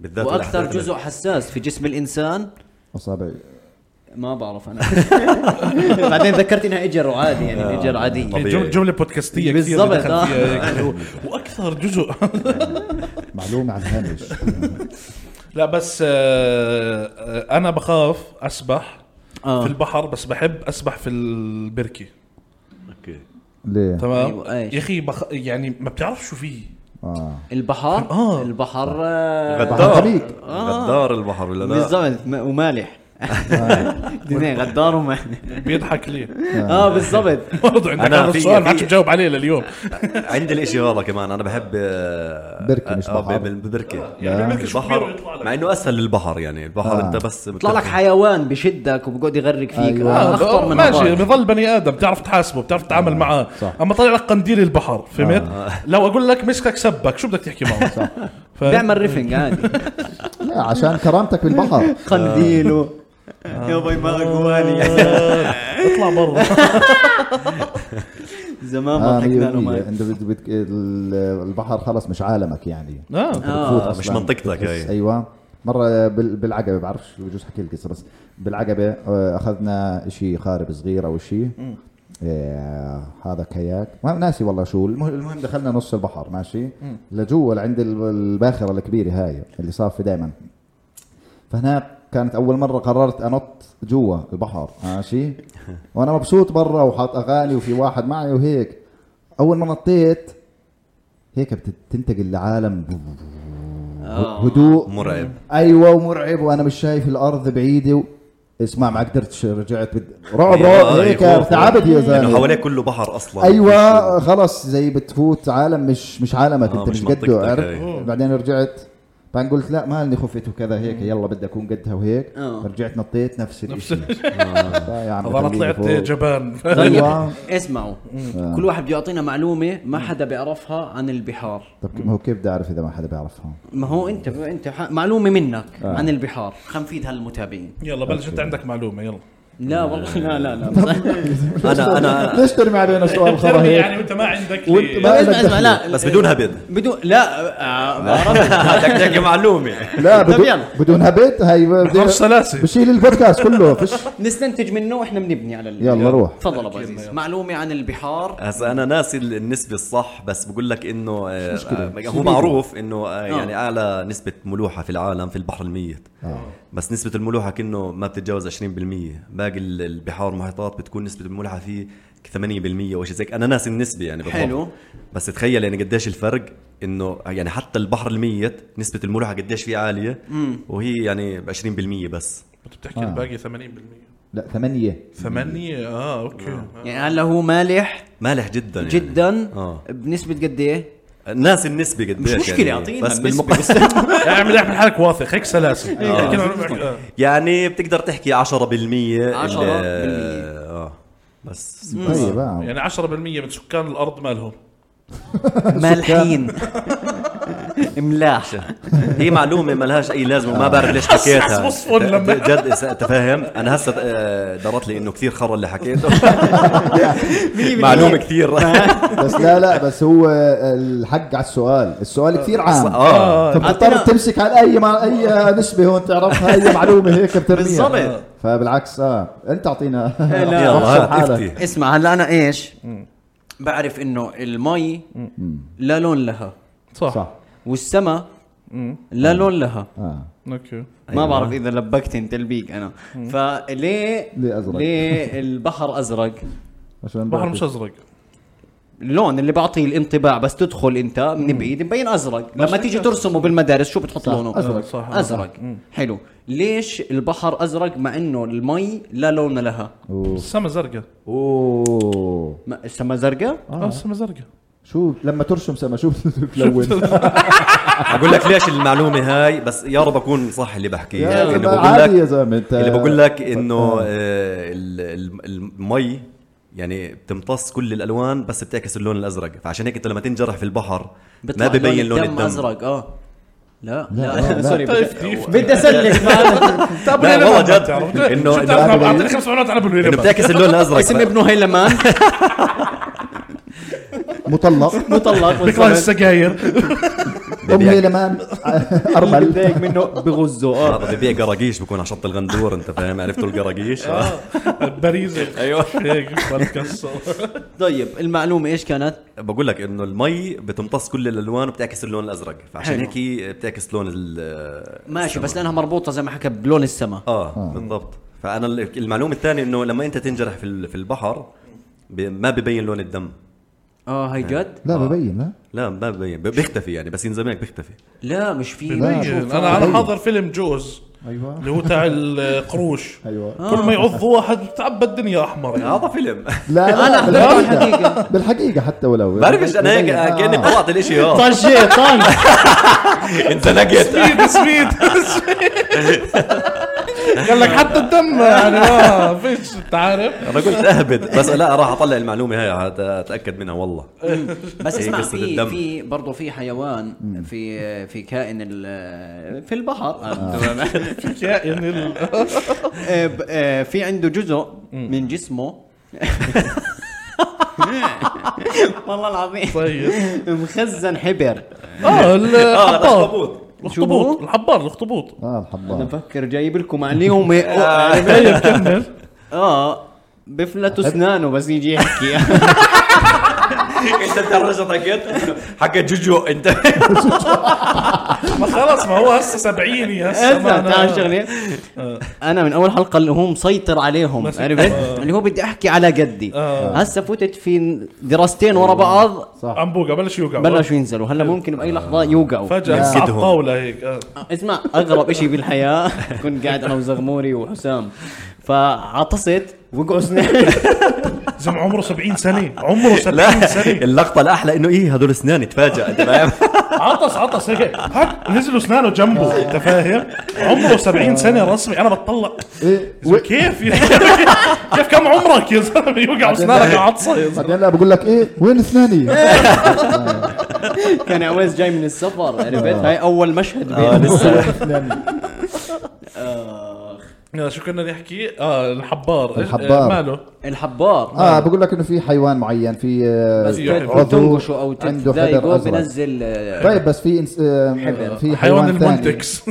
A: بالذات
B: واكثر
A: الأحداث
B: جزء حساس في جسم الانسان
E: اصابع
B: ما بعرف انا بعدين ذكرت انها اجر وعادي
E: آه.
B: يعني اجر عادية
A: طبيعي.
D: جملة جملة بودكاستية كثير
B: بالضبط،
D: دخل
B: آه.
D: فيها هيك. و- واكثر جزء
E: معلومه عن هامش
D: لا بس آه، آه، انا بخاف اسبح
B: آه.
D: في البحر بس بحب اسبح في البركه
A: اللي- أوكي.
E: ليه؟
D: تمام
B: أيوة، أيش.
D: يا اخي بخ... يعني ما بتعرف شو فيه
E: اه
B: البحر
D: آه.
B: البحر آه،
A: غدار
E: حبيب.
A: غدار البحر ولا لا
B: بالضبط م- ومالح دينين غدار ومالح
D: بيضحك ليه؟
E: آه.
B: اه بالضبط
D: برضه عندك
A: أنا
D: هذا
A: في-
D: السؤال ما حدش
A: في-
D: مجاوب عليه لليوم
A: عندي الاشي هذا كمان انا بحب آه،
E: بركة مش
A: آه،
E: بحر.
A: بال- بالبركه
D: يعني
A: يعني
D: بالبركة شو كبير
A: البحر
D: ويطلع لك.
A: مع انه اسهل للبحر يعني البحر
E: آه.
A: انت بس
B: يطلع لك حيوان بشدك وبقعد يغرق فيك
E: أيوة.
B: آه، اخطر من
D: ماشي
B: هذاك.
D: بضل بني ادم بتعرف تحاسبه بتعرف تتعامل معاه
E: صح.
D: اما طلع لك قنديل البحر فهمت؟ لو اقول لك مسكك سبك شو بدك تحكي معه؟ آه، صح
B: بيعمل ريفنج عادي
E: آه. لا عشان كرامتك بالبحر
B: قنديله
E: آه.
B: يا باي ما غوالي
D: اطلع برا
B: زمان ما
E: آه
B: ضحكنا له
E: مية مية.
B: ماي
E: انت بت- بت- ال- البحر خلص مش عالمك يعني
D: آه.
E: بتفوت
B: آه،
E: أصلاً،
A: مش منطقتك
E: بتحس-
A: هي.
E: ايوه مره بال- بالعقبه بعرفش بجوز احكي القصه بس بالعقبه آه، اخذنا شيء خارب صغير او شيء آه هذا كاياك ما ناسي والله شو المه- المهم دخلنا نص البحر ماشي لجوا عند الباخره الكبيره هاي اللي صافي دائما فهنا كانت اول مره قررت انط جوا البحر ماشي وانا مبسوط برا وحاط اغاني وفي واحد معي وهيك اول ما نطيت هيك بت- بتنتقل لعالم هدوء
A: آه، مرعب
E: ايوه ومرعب وانا مش شايف الارض بعيدي و... اسمع ما قدرتش رجعت بد... رعب
A: أيوة،
E: رعب
A: آه،
E: هيك
A: يخوف.
E: ارتعبت
A: لانه
E: يا زلمه
A: حواليك كله بحر اصلا
E: ايوه خلص زي بتفوت عالم مش مش عالمك
A: آه،
E: انت
A: مش
E: مش قده
A: منطقتك
E: عرفت
A: هي.
E: بعدين رجعت بعدين قلت لا مالني خفت وكذا هيك يلا بدي اكون قدها وهيك
B: آه.
E: رجعت نطيت نفس الشيء يا عم
D: انا
E: خليني
D: طلعت
E: فوق.
D: جبان
B: أيوة.
E: ايوه
B: طيب، اسمعوا كل واحد بده يعطينا معلومه ما حدا بيعرفها عن البحار
E: طب ما هو كيف بدي اعرف اذا ما حدا بيعرفها
B: ما هو انت انت ح- معلومه منك عن البحار خنفيد هالمتابعين
D: يلا بلش انت عندك معلومه يلا
B: لا والله لا لا لا
A: انا انا
E: ليش ترمي علينا سؤال خرا
D: ترمي
E: هيك
D: يعني وانت ما عندك
E: وأنت
D: لي-
E: ما-
B: اسمع اسمع لا
A: بس بدون هبد
B: بدون لا آه، بعرف.
A: بدك تحكي معلومه
E: لا
B: طب
E: بدون
B: يلا.
E: بدون هبت هي بدي-
D: خلص سلاسل.
E: بشيل البودكاست كله فش
B: نستنتج منه واحنا بنبني على اللي
E: يلا روح
B: تفضل ابو عزيز معلومه عن البحار
A: هسا انا ناسي النسبه الصح بس بقول لك انه آه،
E: مشكلة.
A: آه،
E: مش
A: هو
E: كبيرة.
A: معروف انه آه، يعني اعلى نسبه ملوحه في العالم في البحر الميت
E: آه.
A: بس نسبه الملوحه كأنه ما بتتجاوز 20% باقي ال- البحار والمحيطات بتكون نسبه الملوحه فيه 8% وشيء زي هيك. انا ناسي النسبه يعني بالضبط
B: حلو.
A: بس تخيل يعني قديش الفرق انه يعني حتى البحر الميت نسبه الملوحه قديش فيه عاليه وهي يعني ب 20% بس
D: انت بتحكي الباقي 80%
E: لا ثمانية
D: ثمانية اه اوكي
B: يعني هلا هو مالح
A: مالح جدا يعني.
B: جدا
A: آه.
B: بنسبه قد ايه؟
A: ناسي النسبه قديش يعني.
B: مش مشكله اعطينا
A: بس
B: النسبة.
A: بالمقا-
D: يعني اعمل اعمل حالك واثق هيك سلاسل لكن آه.
A: يعني بتقدر تحكي 10% 10%
B: 10%.
A: اه بس
E: طيب آه.
D: يعني 10% من سكان الارض مالهم
B: مالحين ملاح
A: هي معلومه ما لهاش اي لازمه وما بعرف ليش حكيتها
D: حسس وصفن لما-
A: جد إس- أنت فاهم انا هسه آه، درت لي انه كثير خرا اللي حكيته معلومه كثير
E: بس لا لا بس هو الحق على السؤال السؤال كثير عام
A: اه
E: فبتضطر
B: عطينا-
E: تمسك على اي مع... اي نسبة هون تعرفها اي معلومة هيك بترميها
B: بالضبط.
E: فبالعكس اه انت اعطينا
B: لا.
A: يلا
E: احسب
A: هات
E: حالك.
A: افتي
B: اسمع هلا انا ايش؟ بعرف انه المي لا لون لها
D: صح
E: صح
B: والسما لا لون لها
E: اه
D: اوكي
B: ما بعرف اذا لبكت انت البيك انا فليه
E: ليه أزرق؟
B: ليه البحر ازرق؟
E: عشان
D: البحر
E: بعرف.
D: مش ازرق
B: اللون اللي بعطيه الانطباع بس تدخل انت من بعيد مبين ازرق لما تيجي ترسمه بالمدارس شو بتحط لونه
E: أزرق.
D: صح.
B: ازرق حلو ليش البحر ازرق مع انه المي لا لون لها
E: أوه.
D: السما زرقاء
E: اوه
B: ما- السما زرقاء
A: آه.
D: اه السما زرقاء
E: شو لما ترسم سما شو بتلون
A: اقول لك ليش المعلومه هاي بس يا رب اكون صح اللي بحكيه
E: يا
A: يعني
E: زلمة،
A: بقول
E: عادي يا
A: لك
E: زلمه انت
A: اللي بقول لك انه آه، ال- ال- المي يعني بتمتص كل الالوان بس بتعكس اللون الازرق فعشان هيك انت لما تنجرح في البحر ما ببين لون الدم
B: ازرق اه لا
E: لا،
B: لا
E: لا. طيب،
B: سوري بدي
D: تفتيف.
B: بدي اسلك معك
D: طب
A: لا،
D: ليه
A: والله
D: لبن؟
A: جد.
D: تعرف؟
A: إنه-
D: شو
A: إنه
D: بتعرف؟ أنا
A: أنا بقول-
D: بعطيك خمس معلومات على ابو
A: انه
D: الوليد
A: بتعكس اللون
B: اسم
A: الازرق ف-
B: ابنه هيلمان
E: مطلق
B: مطلق
D: بكره السجاير
E: امي لمان ارمل
B: بتضايق منه بغزه
E: آه.
B: اه
A: هذا ببيع آه، قراقيش بكون على شط الغندور انت فاهم عرفتوا القراقيش آه.
D: باريزة
A: أيوه.
D: ايوه هيك بتكسر
B: طيب المعلومه ايش كانت؟
A: بقول لك انه المي بتمتص كل الالوان وبتعكس اللون الازرق فعشان
B: حلو.
A: هيك هي بتعكس لون ال
B: ماشي بس لانها مربوطه زي ما حكى بلون السما
A: اه بالضبط فانا ال- المعلومه الثانيه انه لما انت تنجرح في ال- في البحر ب- ما ببين لون الدم
B: اه هي
E: إيه.
B: جد؟
E: لا ببين لا
A: لا ما ببين ب- بيختفي يعني بس ينزل هيك بيختفي
B: لا مش في
E: لا.
B: بشوف.
D: انا انا
A: أيوه.
E: طيب.
D: حاضر فيلم جوز
E: ايوه
D: اللي هو تاع القروش
E: ايوه
B: آه.
D: كل ما يعض واحد بتعبى الدنيا احمر يعني.
A: هذا فيلم
E: لا
B: أنا
E: لا
B: حضرت الحقيقة.
E: بالحقيقه بالحقيقه حتى ولو
A: بعرفش انا هيك
E: ببين.
A: كاني
E: آه.
A: طلعت الاشي
D: طيب.
A: اه
B: طن شيطان
A: انزلقت
D: سميد سميد قال لك حتى الدم يعني ما فيش انت عارف
A: انا قلت اهبد بس لا راح اطلع المعلومه هي حتى اتاكد منها والله
B: بس
A: هي
B: اسمع
A: قصة
B: في
A: الدم.
B: في برضه في حيوان في في كائن ال- في البحر
E: آه.
B: تمام
D: كائن ال-
B: آه، ب- آه، في عنده جزء من جسمه والله العظيم
D: طيب
B: مخزن حبر
A: آه،
D: اه الحبار
A: الاخطبوط
D: الاخطبوط الحبار الاخطبوط
E: اه
B: انا
E: الحبار
B: بفكر جايب لكم عليهم يعني
D: طيب كمل
B: اه بفلت اسنانه بس يجي يحكي
A: انت ترجت حكيت حكيت جوجو انت
D: ما خلص ما هو هسه سبعيني هسه ما
B: اسمع تعال
D: أنا-
B: شغله انا من اول حلقه اللي هو مسيطر عليهم
D: آه. مسيطر.
B: عرفت اللي هو بدي احكي على قدي
D: آه.
B: هسه فتت في دراستين ورا بعض
E: صح
D: عنبوقه بلش يوقع
B: بلشوا ينزلوا هلا ممكن باي لحظه يوقعوا
D: فجاه هسه على
A: يسكتهم.
D: الطاوله هيك آه.
B: اسمع اغرب شيء بالحياه كنت قاعد انا وزغموري وحسام فعطست وقعوا سنين
D: زلمه عمره 70 سنه عمره 70
A: لا
D: سنه
A: اللقطه الاحلى انه ايه هدول اسناني تفاجئ انت فاهم
D: عطس عطس هيك هك نزلوا اسنانه جنبه انت فاهم عمره 70 سنه رسمي انا بتطلع
E: ايه
D: زلمة كيف يا زلمة؟ كيف كم عمرك يا زلمه يوقع اسنانك عطسه يا زلمه
E: بعدين لا بقول لك ايه وين اسناني؟
B: كان عويس يعني جاي من السفر عرفت هاي اول مشهد
A: آه،
B: بين
A: لسه
D: آه، شو كنا نحكي اه الحبار إيش- آه،
E: الحبار.
D: ماله
B: الحبار
E: اه بقول لك انه في حيوان معين في آه،
B: بس
D: يحب.
B: تد- تنقشه او
E: عنده حجر
B: تتضايقه
E: ازرق
B: بنزل آه،
E: طيب بس في إنس... آه، في
D: حيوان
E: حيوان ثاني
D: المنتكس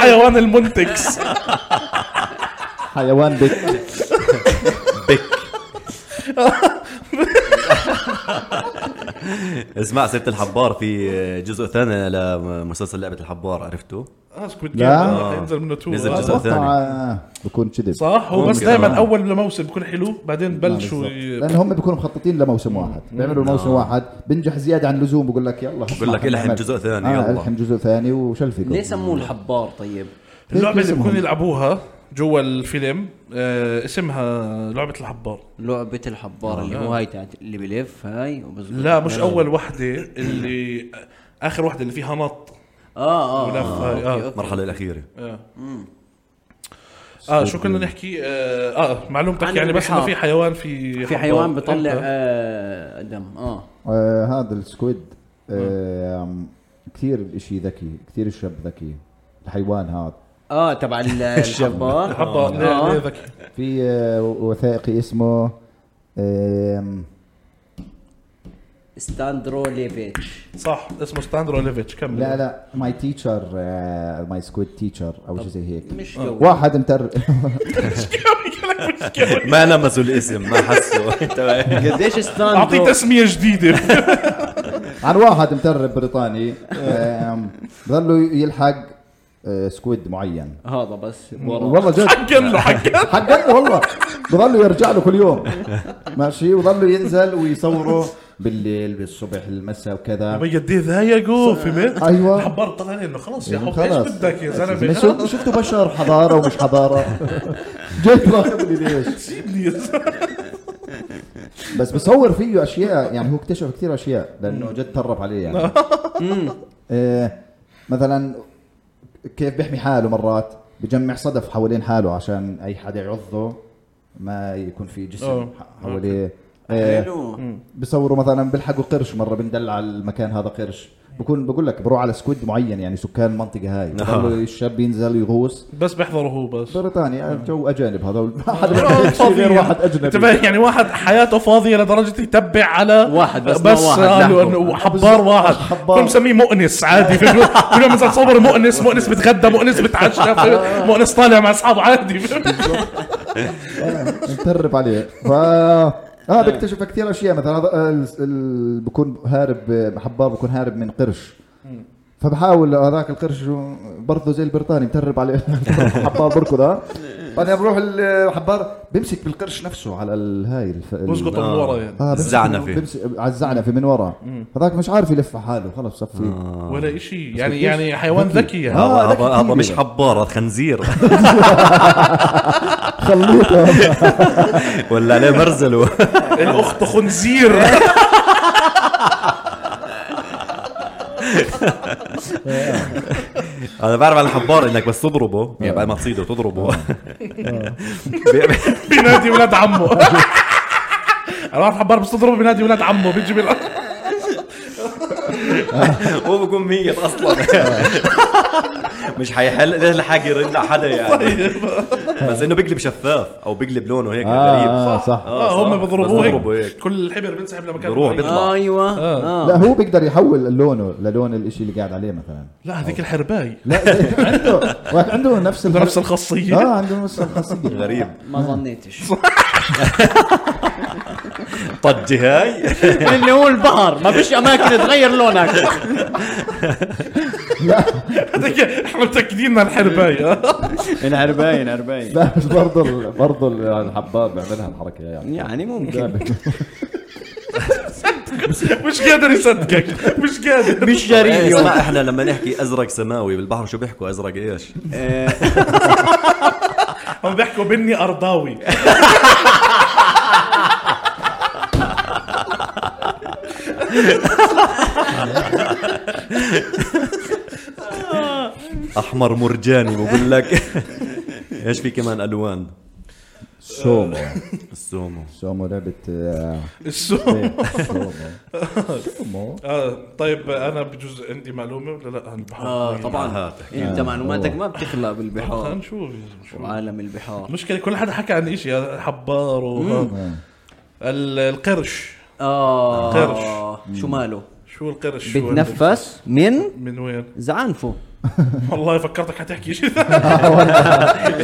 D: حيوان المنتكس
E: حيوان بك
A: اسمع سيره الحبار في جزء ثاني لمسلسل لعبه الحبار عرفته
D: آه، سكويد
E: لا.
D: جيم، رح ينزل منه تو
A: نزل
D: آه،
A: جزء.
E: اتوقع آه، بكون كذب
D: صح هو بس
A: ممكن.
D: دائما
A: آه.
D: اول موسم بيكون حلو بعدين بلشوا ي-
E: لان نعم، هم بيكونوا مخططين لموسم واحد بيعملوا موسم واحد بنجح زياده عن اللزوم بقول لك يلا
A: نعم. بقول لك الحم جزء ثاني،
E: يلا
A: يلا.
E: الحم جزء ثاني وشلفكم
B: ليه سموه الحبار طيب؟
D: اللعبه اللي
E: اسمهم؟
D: بيكونوا يلعبوها جوا الفيلم آه، اسمها لعبه الحبار
B: لعبة الحبار اللي هو هاي تاعت اللي بلف هاي آه. وبزبط
D: آه. لا مش اول وحده اللي اخر وحده اللي فيها نط
B: اه اه
D: ولف هاي، آه.
B: آه. أوكي،
A: المرحله الاخيره
D: اه اه شو كنا نحكي اه, آه معلومتك
B: عن
D: يعني بس
B: البحار.
D: انه في حيوان في
B: أوكي. في حيوان
D: حبار.
B: بيطلع
D: إمتى؟
B: آه دم اه
E: آه هذا السكويد آه كثير الاشي ذكي كثير الشاب ذكي الحيوان هذا
B: اه تبع ال- الحبار
D: حبار ليه-
B: آه.
D: ليه ذكي
E: في آه وثائقي اسمه آم،
B: آه. ستاندرو ليفيتش
D: صح اسمه ستاندرو ليفيتش كمل
E: لا لا آه، ماي تيتشر ماي سكويد تيتشر او شيء زي هيك
B: مش
D: آه.
B: قوي
E: واحد متر
A: ما لمسوا الاسم ما حسوا أنت فاهم؟
B: قديش
D: اعطيه
B: ستاندرو
D: تسميه جديده
E: عن واحد مترب بريطاني آم، ظلوا يلحق آه، سكويد معين
B: هذا بس ورا
E: والله جد
D: حقا له حقا
E: حقا والله بضلوا يرجع له كل يوم ماشي وظلوا ينزل ويصوره بالليل بالصبح المساء وكذا
D: بي قد ايه ضايقه فهمت
E: أيوة.
D: الحبار طلع لي انه خلص يا
E: يعني
D: حب ايش بدك يا
E: بس
D: زلمه
E: شو- شفتوا بشر حضاره ومش حضاره جد راقبني ليش
D: سيبني يا زلمة.
E: بس بصور فيه اشياء يعني هو اكتشف كثير اشياء لانه جد ترب عليه يعني إيه، مثلا كيف بيحمي حاله مرات بجمع صدف حوالين حاله عشان اي حدا يعضه ما يكون في جسم
D: أوه.
E: ح- حواليه إيه،
B: حلو
E: بصوروا مثلا بيلحقوا قرش مره بندلع المكان هذا قرش بكون بقول لك بروح على سكود معين يعني سكان المنطقه هاي بضلوا الشاب ينزل يغوص
D: بس بحضره هو بس
E: بريطانيا جو اجانب هذول ما حدا بيعمل شيء غير واحد
D: أنت
E: اجنبي
D: فاهم؟ يعني واحد حياته فاضيه لدرجه يتبع على
B: واحد بس، ما
D: بس
B: واحد لحقه.
D: قالوا انه حبار واحد
E: حبار.
D: كل مسميه مؤنس عادي في كل يوم مثلا صور مؤنس مؤنس بتغدى مؤنس بتعشى فاهم؟ مؤنس طالع مع اصحابه عادي فاهم؟
E: نترب عليه ف اه بكتشف كثير اشياء مثلا هذا ال- ال- بكون هارب حبار بكون هارب من قرش فبحاول هذاك القرش برضه زي البريطاني مترب عليه حبار بركض ها بعدين بروح الحبار بمسك بالقرش نفسه على الهاي الف... ال-
D: بزقطه من ورا يعني
E: آه، بمسك-
A: الزعنفة.
E: بمسك على الزعنفه من ورا هذاك مش عارف يلف على حاله خلص صفي
A: آه.
D: ولا شيء
E: بديش-
D: يعني يعني حيوان ذكي يعني
E: آه،
A: هذا
E: هذا
A: هذا- هذا
E: كتير.
A: مش حبار هذا خنزير
E: خليط
A: ولا عليه مرزله
D: الاخت خنزير
A: انا بعرف عن الحبار انك بس تضربه يعني بعد ما تصيده تضربه
D: بينادي ولاد عمه انا بعرف حبار بس تضربه بينادي ولاد عمه بيجي بال
A: هو بكون ميت اصلا مش حيحل ليش لحق يرد على حدا يعني بس انه بيقلب شفاف او بيقلب لونه هيك غريب آه،
E: اه صح
D: اه هم
A: بس بضربوا
D: بيضربوه
A: هيك.
D: هيك كل الحبر بنسحب لمكان
A: بروح
D: بعيد.
A: بيطلع.
B: ايوه آه.
E: لا هو بيقدر يحول لونه للون الاشي اللي قاعد عليه مثلا
D: لا هذيك الحرباي
E: لا عنده واحد عنده نفس الحل-
D: نفس الخاصيه
E: اه عنده نفس الخاصيه
A: غريب
B: ما ظنيتش
A: طجي هاي
B: اللي هو البحر ما فيش اماكن تغير لونك
D: هذيك احنا متاكدين انها الحرباي آه.
B: العرباين عرباين
E: لا بس برضه ال- برضه ال- الحبار بيعملها الحركه يعني
B: يعني ممكن
D: مش قادر يصدقك مش قادر
B: مش جريء
A: إيه، اسمع احنا لما نحكي ازرق سماوي بالبحر شو بيحكوا ازرق ايش؟
D: هم بيحكوا بني ارضاوي
A: احمر مرجاني بقول لك ايش في كمان الوان؟
E: سومو
A: السومو
E: سومو لعبه آه،
D: السوق
E: سومو سومو
D: آه طيب انا بجوز عندي معلومه ولا لا عن البحر
B: اه طبعا انت معلوماتك ما بتخلى بالبحار
D: نشوف نشوف.
B: وعالم البحار
D: مشكلة كل حدا حكى عن شيء حبار وهذا ال- القرش
B: اه شو ماله
D: شو القرش شو
B: بتنفس من
D: ال- من وين؟
B: زعانفه
D: والله فكرتك حتحكي شيء ثاني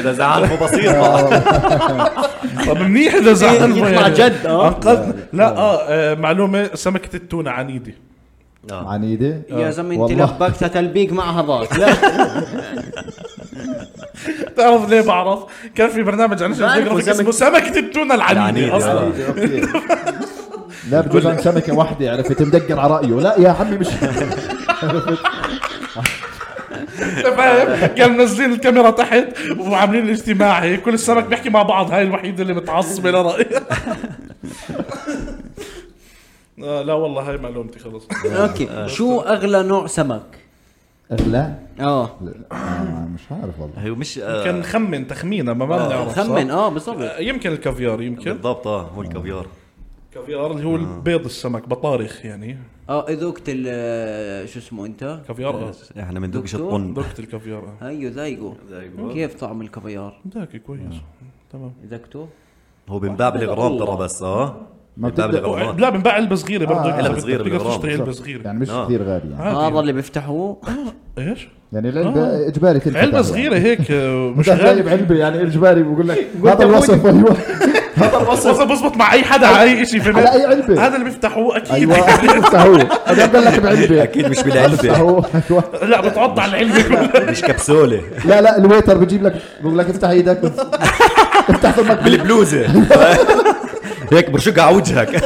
A: اذا زعل مو بصير
D: طب منيح اذا زعلان
B: إيه، يطلع
D: يعني.
B: جد، آه.
D: انقذنا لا اه آه، معلومة سمكة التونة عنيدة
E: عنيده
B: يا زلمه انت
E: آه، والله.
B: لبكت تلبيك مع هذاك لا
D: بتعرف ليه بعرف؟ كان في برنامج عن
B: بعرف
D: جيوغرافيك
B: وسمك-
D: اسمه سمكة التونة
A: العنيدة،
D: العنيدة
A: آه.
D: اصلا
E: أوكي. لا بجوز عن سمكه واحده عرفت مدقر يعني على رايه لا يا عمي مش
D: فاهم؟ كان منزلين الكاميرا تحت وعاملين اجتماع هيك كل السمك بيحكي مع بعض هاي الوحيدة اللي متعصبة لرأيها آه لا والله هاي معلومتي خلص
B: اوكي شو اغلى نوع سمك
E: لا
B: اه
E: آه، مش عارف والله
A: هي مش آه،
D: كان نخمن تخمينه ما ما بنعرف صح؟
B: خمن اه بالضبط
D: آه، يمكن الكافيار يمكن
A: بالضبط اه هو الكافيار
B: آه.
D: الكافيار اللي هو
A: آه.
D: بيض السمك بطارخ يعني
B: اه ذوقت ال- آه، شو اسمه انت
D: كافيار
A: إيه.
D: آه.
A: احنا بندقش
B: دكتور؟
A: الطن
D: ذقت الكافيار آه.
B: هيو ذايقو
A: ذايقو.
B: كيف طعم الكافيار
D: ذاك كويس
A: آه.
D: تمام
B: ذقته
A: هو بنباع بالغرام ترى بس اه بنباع
E: بتبدأ-
A: بالغرامات
D: لا بنباع علبه صغيره برضه
A: آه، علبة صغيرة
D: بتقدر
A: بالغرام.
D: تشتري علبه صغيره
E: يعني مش
A: آه.
E: كثير غالي يعني
D: عادي.
B: هذا اللي بيفتحوه
D: ايش؟
E: يعني العلبه اجباري تنفتح
D: علبه
E: يعني.
D: صغيره هيك آه، مش
E: مش جايب
D: غالي
E: علبه يعني اجباري بقول لك هذا الوصف ايوه هذا الوصف
D: وصل بزبط مع اي حدا على اي شيء في
E: على أي علبة.
D: هذا اللي بيفتحوه اكيد
E: ايوه افتحوه انا قال لك بعلبه
A: اكيد مش بالعلبه
E: افتحوه أيوة.
D: لا بتعض على العلبه كلها
A: مش كبسوله
E: لا لا الويتر بجيب لك بقول لك افتح ايدك افتح فمك
A: بالبلوزه هيك برشق على وجهك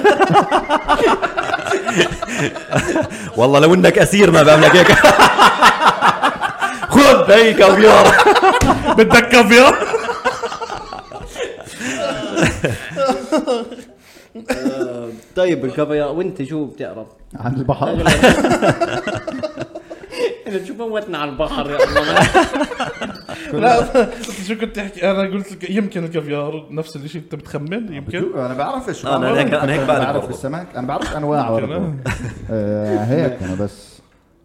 A: والله لو انك اسير ما بعملك هيك خذ هي كافيار
D: بدك كافيار
B: طيب الكافيار وانت شو بتعرف؟
E: عن البحر
B: انا شو موتنا على البحر يا الله
D: لا شو كنت تحكي انا قلت لك يمكن الكافيار نفس الشيء انت بتخمن يمكن
E: انا بعرفش
A: أنا هيك- أنا هيك بعرف
E: بعرف
A: برضه.
E: السمك انا بعرف انواع برضه
D: آه.
E: آه، هيك انا بس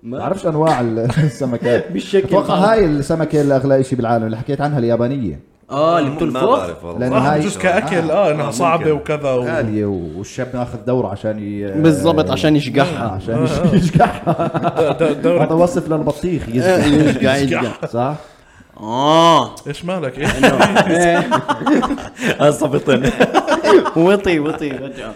B: ما-
E: بعرفش انواع ال- السمكات
B: بالشكل
E: اتوقع
B: بعرف.
E: هاي السمكه الاغلى شيء بالعالم اللي حكيت عنها اليابانيه
B: اه اللي
A: ما
B: بتنفخ
A: بعرف والله
E: لأن
D: آه،
E: هاي- آه،
D: بجوز كاكل اه انها صعبه وكذا و...
E: غاليه والشاب ماخذ دوره عشان ي-
B: بالضبط عشان يشقحها
E: عشان يشقحها
D: د- دورة
E: هذا وصف للبطيخ يزقح
B: يشقح يشقح
E: صح؟
B: اه
D: ايش مالك
E: أيوة.
D: ايش
A: أصبطن
B: وطي وطي رجع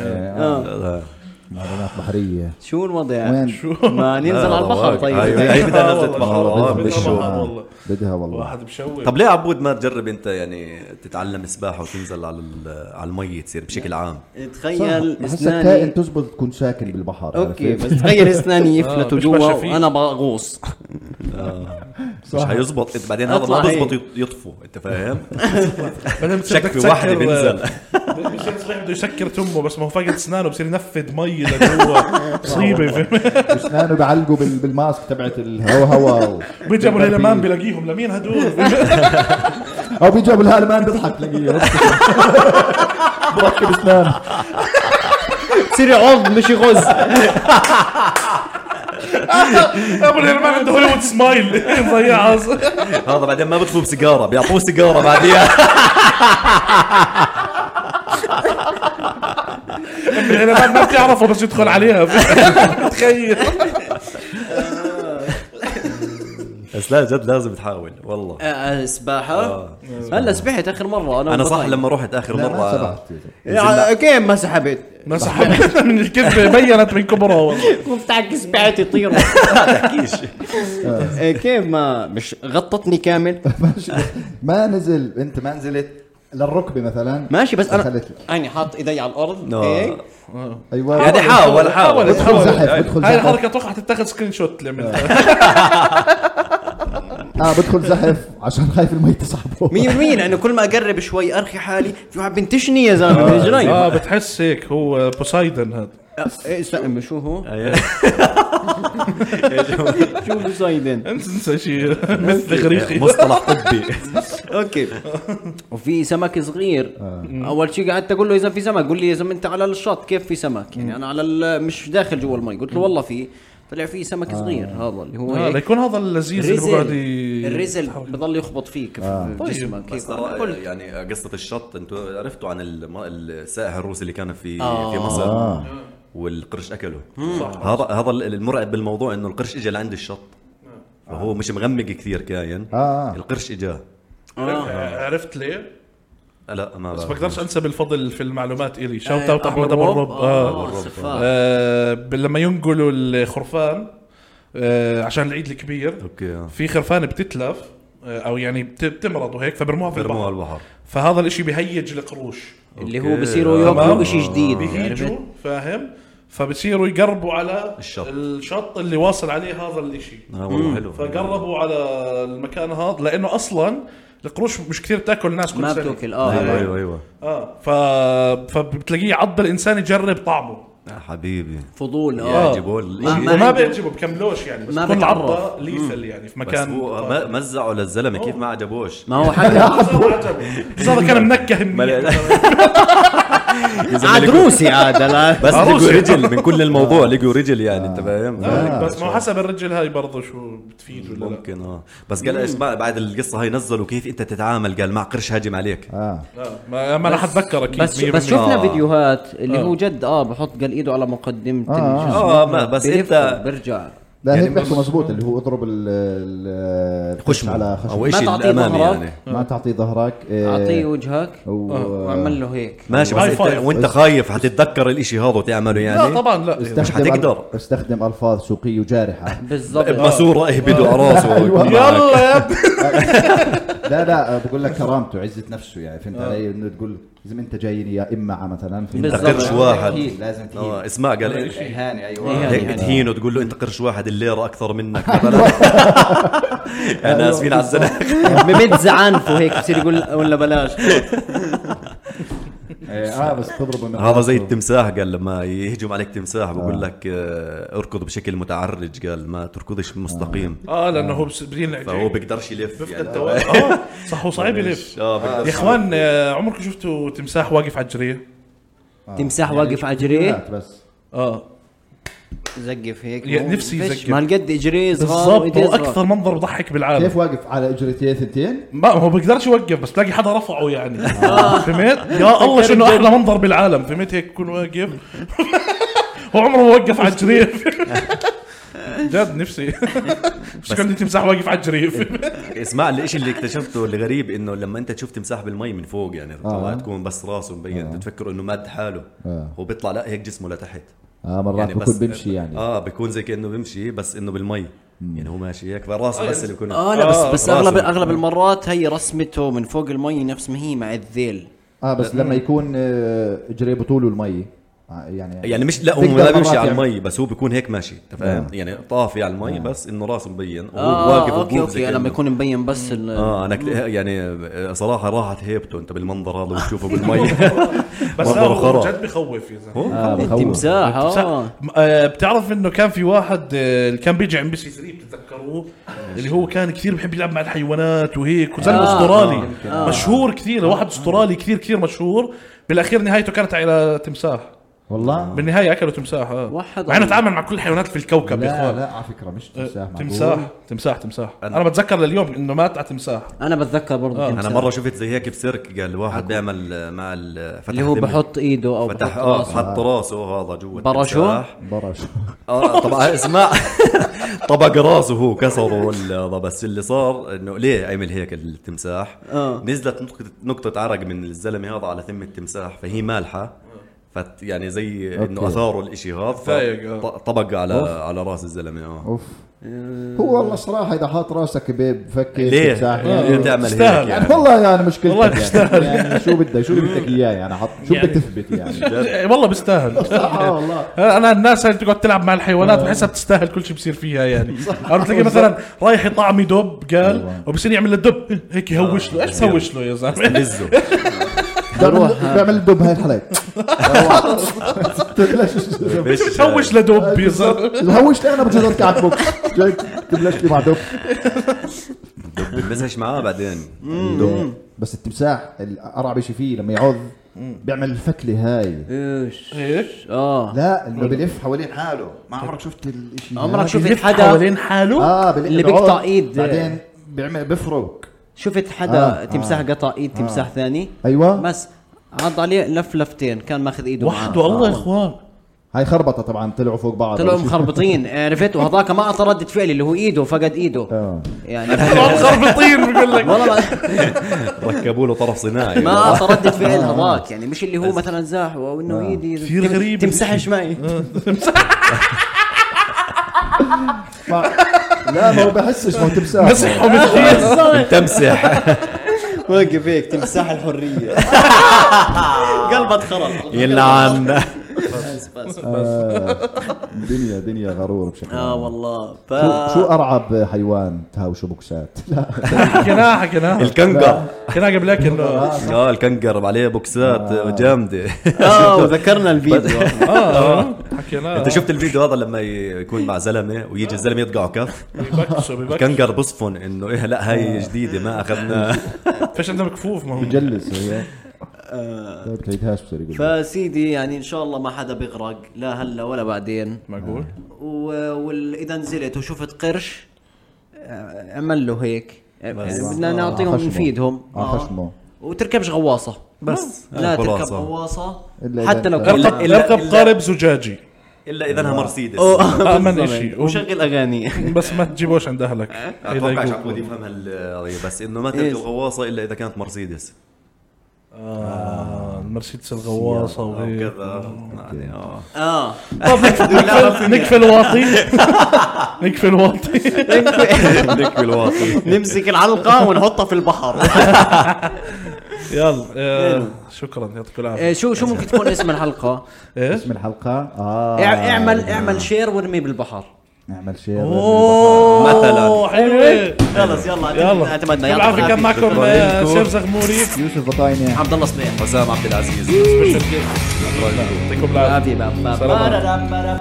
E: آه. معلومات بحريه
B: شو الوضع؟
E: وين؟
D: شو؟
B: ما ننزل
A: لا،
B: على البحر
A: والله.
B: طيب
A: أيوة. هي بدها نزلة بحر. آه،
E: والله
A: بالشو.
E: بدها
D: والله.
E: بدها والله
D: واحد بشوي
A: طب ليه عبود ما تجرب انت يعني تتعلم سباحه وتنزل على ال- على المي تصير بشكل عام
B: تخيل
E: هسه كائن إيه.
B: اسناني
E: تزبط تكون شاكل بالبحر
B: اوكي
E: عرفت؟
B: بس تخيل اسناني يفلتوا
D: مش
B: جوا
D: ماشي فيه.
B: وانا بغوص
A: مش حيزبط انت بعدين هذا ما
B: أطلع هيك.
A: بزبط يط- يطفو انت فاهم
D: بعدين بتصير بدك
A: شكل واحد
D: تسكر-
A: بينزل.
D: بصير صحيح بده يسكر تمه بس ما هو فاقد اسنانه بصير ينفذ مي لجوا مصيبه فهمت
E: اسنانه بعلقوا بال- بالماسك تبعت الهوا هوا
D: بيجي ابو الهلمان بلاقيهم لمين هدول
E: او بيجيبوا الهلمان بيضحك تلاقيه بركب اسنان
B: بصير يعض مش يغز
D: ابو الهلمان عنده هوليوود سمايل مضيعها
A: هذا بعدين ما بطفو بسيجاره بيعطوه سيجاره بعديها
D: ابو الهلمان ما بتعرفه بس يدخل عليها تخيل
A: بس لا جد لازم تحاول والله
B: سباحه هلا سبحت اخر مره انا
A: انا صح
B: وقطعي.
A: لما رحت اخر
E: لا ما
A: مره
E: سبحت
B: يا- إيه، آه، كيف ما سحبت؟
D: ما سحبتنا من الكذبه بينت من كبرها والله
B: كنت عكس بعتي طير
A: تحكيش
B: إيه، كيف ما مش غطتني كامل
E: ما نزل انت ما نزلت للركبه مثلا
B: ماشي بس انا
E: دخلت-
B: انا حاط ايدي على إيه. الارض
A: لا.
B: هيك
E: ايوه
A: يعني حاول حاول
D: حاول.
E: ادخل زحف ادخل
D: هاي
E: زحف
D: الحركه اتوقع تتاخذ سكرين شوت اللي عملتها
E: اه بدخل زحف عشان خايف المي تسحبه
B: 100% لانه كل ما اقرب شوي ارخي حالي في واحد بنتشني يا زلمه من
A: طيب.
B: رجلي
D: اه بتحس هيك هو بوسايدن هذا
B: آه. إيه، استنى، شو هو؟
A: أيوة.
B: شو بوسايدن
D: انت تنسى شيء مثل غريقي
A: مصطلح طبي
B: اوكي وفي سمك صغير اول شيء قعدت اقول له اذا في سمك قول لي يا زلمه انت على الشط كيف في سمك يعني انا على ال- مش داخل جوا المي قلت له والله في طلع في سمك صغير هذا اللي هو
D: آه،
B: هيك
D: ليكون هذا اللذيذ اللي بقعد ي-
B: الرزل بضل يخبط فيك في جسمك
A: بس
B: هيك.
A: ترى
B: قلت
A: يعني قصه الشط انتوا عرفتوا عن الم- السائح الروسي اللي كان في
B: آه.
A: في مصر والقرش اكله هذا هذا المرعب بالموضوع انه القرش اجى لعند الشط نعم. فهو مش مغمق كثير كاين
E: آه.
A: القرش اجاه
B: آه.
D: عرفت- آه، عرفت ليه؟
A: لا ما
D: بس
A: بعرف.
D: بقدرش انسب الفضل في المعلومات الي شوت
B: أحمد
D: اوت احمد ابو الرب
B: إيه، آه،
D: آه.
B: سفاح.
D: آه، ب- لما ينقلوا الخرفان آه، عشان العيد الكبير
A: اوكي آه.
D: في خرفان بتتلف آه، او يعني بت- بتمرض وهيك فبرموها في
A: برموها
D: البحر
A: على البحر
D: فهذا الاشي بهيج القروش
B: اللي
A: أوكي.
B: هو بصيروا
A: تمام.
B: ياكلوا شيء جديد يعني
D: بهيجوا فاهم فبصيروا يقربوا على
A: الشط.
D: الشط اللي واصل عليه هذا الاشي
A: اه والله حلو
D: فقربوا على المكان هذا لانه اصلا القروش مش كثير بتاكل الناس كل
B: ما
D: سنة.
B: بتاكل
A: ايوه
D: آه.
B: اه
A: ايوه ايوه
D: اه ف... فبتلاقيه عض الانسان يجرب طعمه
A: يا حبيبي إيه؟
B: فضول
A: يا
B: اه
A: جيبوا
B: ما-
A: الإشي.
B: ما-
D: وما
B: عنده-
D: بيعجبه بكملوش يعني بس
B: ما
D: كل
B: بتعرف.
D: عضه ليثل يعني في
A: بس
D: مكان
A: هو ما- مزعوا للزلمه كيف ما عجبوش
B: ما هو حتى
D: بس هذا كان منكه منيح.
A: يا
B: عاد
A: زلمة
B: روسي عاد لا
A: بس
D: عروسي.
A: لقوا رجل من كل الموضوع لقوا رجل يعني انت فاهم
D: آه، بس ما هو حسب الرجل هاي برضه شو بتفيد ولا لا
A: ممكن اه بس قال ايش بقى بعد القصه هاي نزلوا كيف انت تتعامل قال مع قرش هاجم عليك
E: اه
D: آه، ما ما راح اتذكر اكيد
B: بس
D: 100%.
B: بس شفنا
A: آه.
B: فيديوهات اللي
D: آه.
B: هو جد اه بحط قال ايده على مقدمه
E: آه.
B: الجسم.
A: اه ما بس
B: بلف
A: انت
B: برجع
E: لا
A: يعني
E: هيك بحكوا مزبوط اللي هو اضرب ال- ال
A: خشمه
E: على
A: او
E: خشمه
A: ايش
B: تعطيه
A: الامامي
B: ظهرك.
A: يعني
E: ما تعطي ظهرك إيه،
B: اعطيه وجهك
E: و-
B: واعمل له هيك
A: ماشي بس
D: هاي
A: انت
D: فايف.
A: وانت خايف حتتذكر الاشي هذا وتعمله
D: لا
A: يعني
D: طبعا لا
A: مش
E: استخدم
A: حتقدر.
E: أل- استخدم الفاظ سوقيه جارحه
B: بالضبط
A: بماسوره اهبدوا على راسه
E: أيوة.
A: إيه، ويكون معك.
D: يلا يا ابني
E: لا لا بقول لك كرامته عزه نفسه يعني فهمت
B: آه.
E: علي انه تقول لازم انت جايني يا اما مثلا
A: انت
E: فهمت؟
B: بالضبط.
A: قرش واحد
B: أكيد.
E: لازم
A: اه
E: تهين
A: اسمع
E: يعني
A: قال
E: اهانه
B: إهانة.
E: ايوه
A: هيك
B: يعني.
A: بتهينه تقول له انت قرش واحد الليره اكثر منك مثلا احنا اسفين على الزناخ
B: ببيت زعانفه هيك بصير يقول لا- ولا بلاش
E: إيه، اه بس تضربه من
A: هذا زي
E: راسه.
A: التمساح قال لما يهجم عليك تمساح بقول لك آه، اركض بشكل متعرج قال ما تركضش مستقيم
D: اه لانه هو بس- بينعج
A: فهو بيقدرش يلف
D: بفقد
A: يعني
D: دوام آه، صح هو صعيب يلف
A: اه بيقدر-
D: يا اخوان آه، عمركم شفتوا تمساح واقف على الجريه؟
E: آه.
B: تمساح واقف على جريه
E: لا، يعني بس
D: اه
A: آه.
B: زقف هيك
D: يا نفسي
B: فيش.
D: يزقف.
B: ما القد اجريه صغار
D: بالضبط
B: وإيديه
D: هو
B: صغار.
D: اكثر منظر بضحك بالعالم
E: كيف واقف على اجرتين ثنتين
D: ما هو بيقدرش يوقف بس تلاقي حدا رفعه يعني
B: آه.
D: فهمت؟ يا الله شنو احلى منظر بالعالم فهمت هيك يكون واقف هو عمره ما وقف على الجريف جد نفسي مش كان تمساح واقف على الجريف
A: اسمع الاشي اللي اكتشفته اللي غريب انه لما انت تشوف تمساح بالمي من فوق يعني طلع تكون بس راسه مبين بتفكر انه ماد حاله
E: آه.
A: هو بيطلع لا هيك جسمه لتحت
E: اه مرات بكون بمشي يعني
A: اه بكون زي كانه بمشي بس انه بالمي يعني هو ماشي هيك راسه بس اللي بكون
B: اه لا بس
A: آه،
B: بس
A: راسه
B: اغلب
A: بكون-
B: اغلب المرات هي رسمته من فوق المي نفس ما هي مع الذيل
E: اه
A: آه،
E: بس لما يكون آه، جريبه طوله المي آه، يعني
A: يعني مش لا هو
E: بيقدر
A: ما
E: مرات يعني.
A: بيمشي على
E: يعمل-
A: المي بس هو بيكون هيك ماشي أنت فاهم
E: آه.
A: يعني طافي على المي بس انه راسه مبين وهو
B: اه
A: واقف
B: اوكي
A: وقوف زي
B: اوكي
A: كأنه-
B: لما يكون مبين بس ال-
A: اه انا كت- يعني صراحه راحت هيبته انت بالمنظر هذا وتشوفه بالمي
D: بس
A: منظر
D: لا، هو
A: خرا.
D: جد بخوف يا زلمه
E: اه
A: إيه،
E: بخوف
B: التمساح اه
D: س- م- آه، بتعرف انه كان في واحد آه، اللي كان بيجي عم بي سي 3 بتتذكروه اللي هو كان كثير بحب يلعب مع الحيوانات وهيك وزلمه
B: آه،
D: استرالي
B: آه.
D: مشهور كثير واحد استرالي كثير كثير مشهور بالاخير نهايته كانت على تمساح
A: آه.
E: والله
D: بالنهايه اكلوا تمساح اه
B: وحد
D: مع انه
B: الله.
D: تعامل مع كل الحيوانات في الكوكب يا
E: لا
D: اخوان
E: لا على فكره مش تمساح
D: آه،
E: معقول؟
D: تمساح تمساح تمساح انا بتذكر لليوم انه مات على تمساح
B: انا بتذكر برضه
D: آه.
A: انا
B: التمساح.
A: مره شفت زي هيك بسيرك قال واحد بيعمل آه، مع ال- فتح
B: اللي هو
A: دمه.
B: بحط ايده او
A: فتح
B: بحط
A: اه
B: راسه
A: حط راسه هذا جوا
B: برشو؟
A: التمساح.
E: برش
A: اه طبعا اسمع طبق راسه هو كسره ولا هذا بس اللي صار انه ليه عمل هيك التمساح
B: آه.
A: نزلت نقطه نقطه عرق من الزلمه هذا على ثم التمساح فهي مالحه فت يعني زي انه
E: أوكي.
A: اثاره الاشي هذا
D: فايق، آه.
A: فط- طبق على على راس الزلمه اه
E: اوف هو والله صراحه اذا حاط راسك بفك
A: ليه؟
E: تمساح
A: ليه
E: يعني
A: تعمل هيك
D: تستاهل.
A: يعني
E: يعني والله يعني مشكلتك
D: والله
E: يعني. يعني شو بدك شو بدك اياه يعني حط شو بدك تثبت يعني
D: إيه، والله بيستاهل
E: اه والله
D: انا الناس اللي بتقعد تلعب مع الحيوانات بحسها بتستاهل كل شيء بصير فيها يعني عم بتلاقي مثلا رايح يطعمي دب قال وبصير يعمل الدب هيك يهوش له ايش تهوش له يا زلمه
A: لزه
E: بعمل بعمل دب هاي الحلقه تبلش
D: ليش
A: آه،
D: بتهوش لدب يا زلمه
E: الهوش انا بتصير اركع على البوكس جاي تبلش لي مع دب
A: بمزهش معاه بعدين
E: دب. يعني بس التمساح الارعب شيء فيه لما يعض بيعمل الفكله هاي
B: ايش
D: هيك
B: اه
E: لا انه بلف حوالين حاله ما عمرك شفت الشيء
B: عمرك شفت
D: يلف
B: حدا-
D: حوالين حاله
E: اه بال-
B: اللي
E: بعض،
B: بيقطع إيد.
E: بعدين بيعمل بفرق
B: شفت
E: آه،
B: حدا
E: آه.
B: تمساح قطع ايد تمساح ثاني
E: ايوه
B: بس عض عليه لف لفتين كان ماخذ ايده معاه.
D: وحده الله
B: آه.
D: يا اخوان
E: هاي خربطه طبعا طلعوا فوق بعض
B: طلعوا مخربطين عرفت وهذاك ما اعطى رده فعلي اللي هو ايده فقد ايده
E: اه
B: يعني
D: طلعوا مخربطين بقول لك
B: والله ما-
A: ركبوا له طرف صناعي
B: ما اعطى رده فعل هذاك يعني مش اللي هو مثلا زاح او انه ايدي
D: كثير
B: تم-
D: غريب.
B: تمسحش معي
E: ما- لا ما هو بحسش ما هو تمساح
D: مسحهم
B: إيه،
D: الخير
A: تمسح
B: واقف هيك تمساح الحريه قلبت خرب
A: يلعن
E: آه، دنيا دنيا غرور بشكل
B: اه
E: عام.
B: والله ف
E: شو شو ارعب حيوان تهاوشه بوكسات لا
D: حكيناها حكيناها
A: الكنجر
D: حكيناها قبل لك انه
A: اه الكنجر عليه
E: آه.
A: بوكسات جامده
B: اه وذكرنا الفيديو
A: آه.
D: اه حكيناها
A: انت شفت الفيديو هذا لما يكون مع زلمه ويجي الزلمه يطقعه كف
D: آه، بيبكسوا بيبكسوا
A: الكنجر بصفن انه ايه لا هاي جديده ما اخذناها
D: فيش عندنا مكفوف ما هم
E: مجلس هي
B: آه.
E: طيب تعيدهاش بصير يقول لك.
B: فسيدي يعني ان شاء الله ما حدا بيغرق لا هلا ولا بعدين
D: معقول
B: واذا نزلت وشفت قرش آه، اعمل له هيك آه، بدنا
E: آه،
B: نعطيهم
E: خشمه.
B: نفيدهم
E: آه،
B: آه.
E: خشمه.
B: وتركبش غواصه بس
A: آه،
B: لا تركب
A: خلاص، آه.
B: غواصه
E: إلا إذا
B: حتى لو
E: أنت-
B: كان
A: إلا-
D: اركب
A: إلا-
D: اركب قارب زجاجي
A: الا اذا انها مرسيدس
B: آه.
D: امن
B: بالضبط.
D: شيء
B: وشغل اغاني
D: بس ما تجيبوش عند اهلك
A: اتوقعش عبود يفهم هالقضيه بس انه ما تركب
B: إيش؟
A: غواصه الا اذا كانت مرسيدس
D: آه، المرسيدس الغواصه
A: او
D: وهيك
A: كذا يعني اه
B: اه
D: طب نكفل نكفل واطي نكفل واطي
A: نكفي الواطي
B: نمسك العلقه ونحطها في البحر
D: يلا آه، شكرا يعطيكم إيه؟
B: آه،
D: العافيه
B: شو شو ممكن تكون اسم الحلقه
D: ايش
E: اسم الحلقه اه
B: إع- اعمل اعمل شير وارميه بالبحر
E: نعمل شير
A: مثلا.
D: حلوه
B: خلص يلا
D: يلا
B: اعتمدنا
D: يعطيك العافيه كان
B: يلا
D: معكم آه، سيف زغموري
E: يوسف بطاينه
B: عبد الله صبيح
A: حسام عبد العزيز
D: يعطيكم العافيه
B: حبيبي